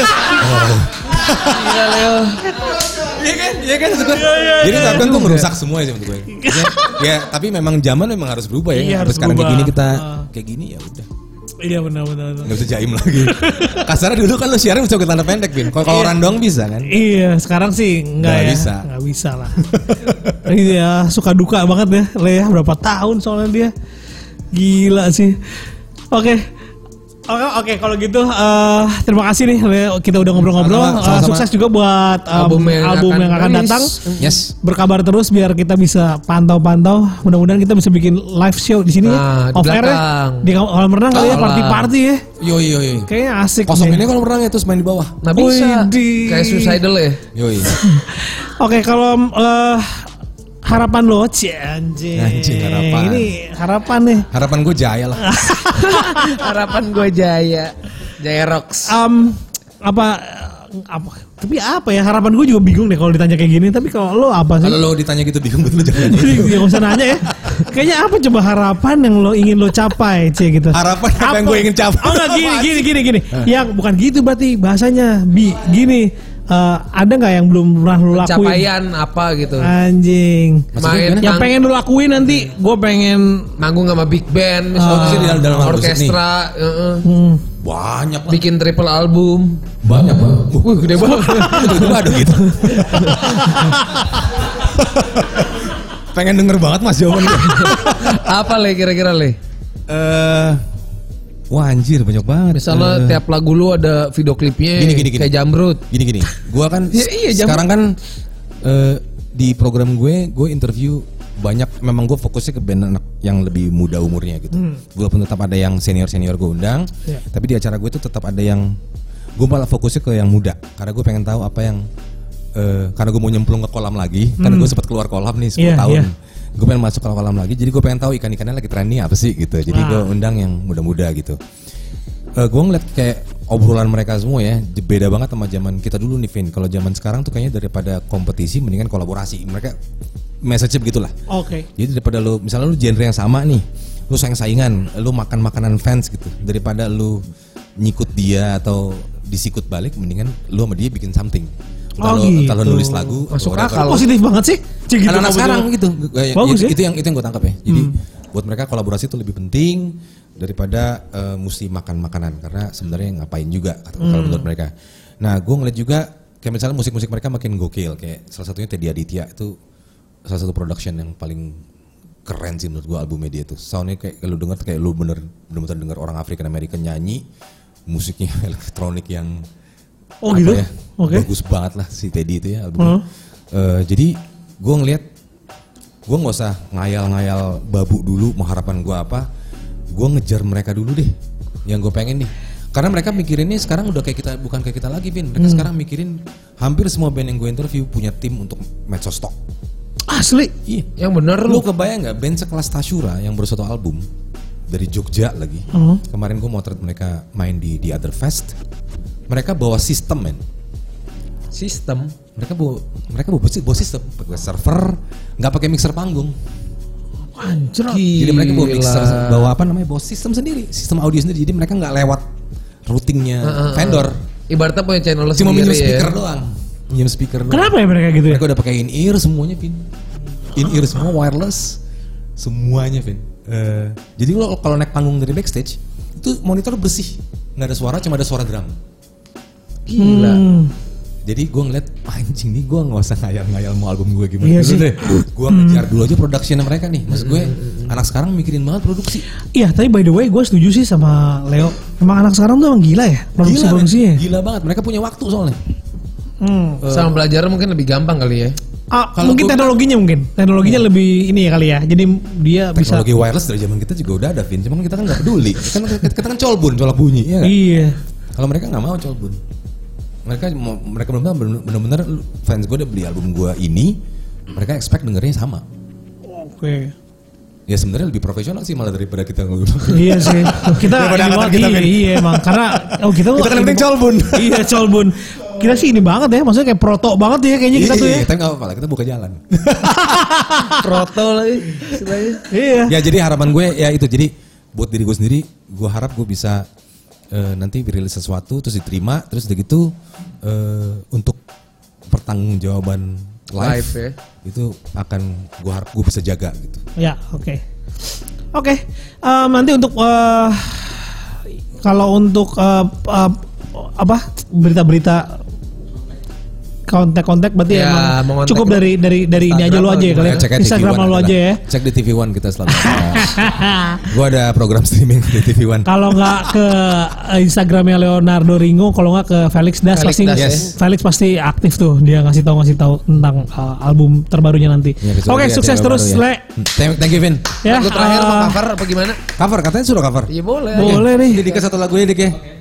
Iya Leo. Iya kan? Iya kan? Maksud gue, Jadi webcam Iya. tuh merusak semua sih menurut gue. Ya, ya, tapi memang zaman memang harus berubah ya. Iya, Sampai harus sekarang kayak berubah. gini kita Ah. kayak gini ya udah. Iya benar benar. benar. Gak bisa jaim lagi. Kasarnya dulu kan lu siaran bisa ke tanda pendek, Bin. Kalau kalau orang doang bisa kan? Iya, sekarang sih enggak Nggak ya. bisa. Nggak bisa lah. Ini ya suka duka banget ya. Le ya berapa tahun soalnya dia. Gila sih. Oke. Oke, oke kalau gitu eh, terima kasih nih Le, kita udah ngobrol-ngobrol. Sama-sama, sama-sama. Eh, sukses juga buat em, album yang, akan, rilis. datang. Yes. Berkabar terus biar kita bisa pantau-pantau. Mudah-mudahan kita bisa bikin live show di sini Nah, di ya. Off air ya. belakang. Di kolam renang kali ya Kolam. party-party ya. Yo yo yo. Kayaknya asik. Kosong nih. ini kalau renang ya terus main di bawah. Nah bisa. Widih. Kayak suicidal ya. Yo yo. Oke, kalau eh, harapan lo, cie, anjing. Anjing, harapan. Ini harapan nih. Harapan gue jaya lah. Harapan gue jaya. Jaya Rocks. Um, apa apa tapi apa ya harapan gue juga bingung deh kalau ditanya kayak gini tapi kalau lo apa sih Kalau lo ditanya gitu bingung betul jangan. jadi gak usah nanya ya kayaknya apa coba harapan yang lo ingin lo capai cie gitu Harapan apa yang gue ingin capai? oh enggak gini Apaan gini gini gini yang bukan gitu berarti bahasanya bi gini Eh, ada nggak yang belum pernah lo lakuin Capaian apa gitu. Ah, anjing Maksudnya Main gimana? yang mang- pengen lo lakuin nanti gue pengen manggung sama big band Oh, misalnya maksudnya di dalam- dalam hal orkestra heeh. Banyak lah. bikin triple album Banyak banget. Wah, gede banget tiba-tiba ada gitu. Pengen denger banget mas jawaban gue. apa le kira-kira le Eh, wah anjir banyak banget. misalnya Eh, tiap lagu lu ada video klipnya Gini, gini, gini. kayak jamrut gini gini. Gua kan Ya, iya, jam- sekarang kan eh, di program gue gue interview banyak memang gue fokusnya ke band anak yang lebih muda umurnya gitu. Gue pun tetap ada yang senior senior gue undang, Iya. tapi di acara gue itu tetap ada yang gue malah fokusnya ke yang muda karena gue pengen tahu apa yang eh, karena gue mau nyemplung ke kolam lagi karena gue sempat keluar kolam nih 10 Iya, tahun. iya. Gue pengen masuk ke kolam lagi, jadi gue pengen tahu ikan-ikannya lagi trennya apa sih gitu. Jadi gue undang yang muda-muda gitu. gue Eh, ngeliat kayak obrolan mereka semua ya, j- beda banget sama zaman kita dulu nih, Vin. Kalau zaman sekarang tuh kayaknya daripada kompetisi, mendingan kolaborasi. Mereka message begitulah. Oke. Jadi daripada lu misalnya lu genre yang sama nih, lu sayang saingan, lu makan makanan fans gitu. Daripada lu nyikut dia atau disikut balik, mendingan lu sama dia bikin something. Entah Oh, lu- gitu. entah lu nulis lagu, Masuk atau whatever akal. Positif banget sih. Cik, gitu anak-anak kamu sekarang tuh. gitu Kayak Bagus itu, ya. itu yang itu yang gue tangkap ya jadi buat mereka kolaborasi itu lebih penting daripada eh, mesti makan makanan karena sebenarnya ngapain juga kata- kalau menurut mereka nah gue ngeliat juga kayak misalnya musik-musik mereka makin gokil kayak salah satunya Teddy Aditya itu salah satu production yang paling keren sih menurut gue albumnya dia tuh soundnya kayak lu denger kayak lu bener bener denger orang African American nyanyi musiknya elektronik yang Oh apa gitu. ya, Oke. Hmm. bagus banget lah si Teddy itu ya albumnya. Eh, jadi gue ngelihat gue nggak usah ngayal-ngayal babu dulu mau harapan gue apa gue ngejar mereka dulu deh yang gue pengen nih karena mereka mikirinnya sekarang udah kayak kita bukan kayak kita lagi Vin Hmm. mereka sekarang mikirin hampir semua band yang gue interview punya tim untuk medsos stock Asli. iya yang bener lu lu kebayang nggak band sekelas Tashura yang baru satu album dari Jogja lagi Hmm. kemarin gue motret mereka main di The Other Fest mereka bawa sistem men sistem mereka bawa mereka bawa, bawa sistem bawa server nggak pakai mixer panggung. Anjir. Jadi mereka bawa mixer, Gila. bawa apa namanya, bawa sistem sendiri, sistem audio sendiri. Jadi mereka nggak lewat routingnya vendor. Ibaratnya punya channel Cuma minjem sendiri ya. speaker doang. Minjem speaker doang. Kenapa ya mereka gitu ya? Mereka udah pakai in ear semuanya, Vin. In ear semua wireless, semuanya, Vin. Eh, jadi lo kalau naik panggung dari backstage, itu monitor bersih, nggak ada suara, cuma ada suara drum. Gila. Jadi gue ngeliat "Ah, anjing nih gue nggak usah ngayal-ngayal mau album gue gimana Iya dulu sih. Hmm, deh. Gue ngejar dulu aja productionnya mereka nih. Maksud gue anak sekarang mikirin banget produksi. Iya, tapi by the way gue setuju sih sama Leo. Emang anak sekarang tuh emang gila ya Gila, men. produksi-produksinya. gila banget. Mereka punya waktu soalnya. Hmm. Sama belajar mungkin lebih gampang kali ya. Ah, mungkin Kalau gua- kan- Iya. teknologinya mungkin. Teknologinya lebih ini ya kali ya. Jadi dia bisa Teknologi wireless dari zaman kita juga udah ada, Vin. Cuman kita kan nggak peduli. kan kita, kita kan colbun, colak bunyi. Iya nggak? Iya. Kalau mereka nggak mau colbun. Mereka mau- mereka benar-benar benar-benar fans gue udah beli album gue ini. Mereka expect dengernya sama. Oke. Ya sebenarnya lebih profesional sih malah daripada kita ngobrol. iya sih. Kita ini Daripada angkatan banget, kita, iya, Ben. iya emang karena oh kita Kita kan yang penting colbun. iya colbun. Kita sih ini banget ya, maksudnya kayak proto banget ya kayaknya kita Iya, tuh iya, ya. Tapi nggak apa-apa, lah, kita buka jalan. Proto lagi. istilahnya. Iya. ya jadi harapan gue ya itu jadi buat diri gue sendiri gue harap gue bisa eh, nanti rilis sesuatu terus diterima terus udah gitu eh, untuk pertanggungjawaban live, Live, ya. itu akan gue harap gue bisa jaga gitu Ya, oke. Oke, eh, nanti untuk eh, kalau untuk eh, eh, apa berita-berita kontak-kontak berarti Ya, mau emang kontak cukup lu. dari dari dari ini aja Instagram lu aja atau ya kali ya. Nah, aja Instagram TV One lu adalah. aja ya. cek di TV One kita selalu gue ada program streaming di TV One Kalau nggak ke eh, Instagramnya Leonardo Ringo, kalau nggak ke Felix Das Felix pasti Das, ya. Felix pasti aktif tuh dia ngasih tahu ngasih tahu tentang eh, album terbarunya nanti. Ya, Oke, kecuali ada sukses yang terus baru ya. Le. thank, thank you Vin Ya, Lagu terakhir eh, mau cover apa gimana? cover katanya suruh cover Ya Ah. boleh. Iya, boleh nih. Jadi ke satu lagu ya Dik ya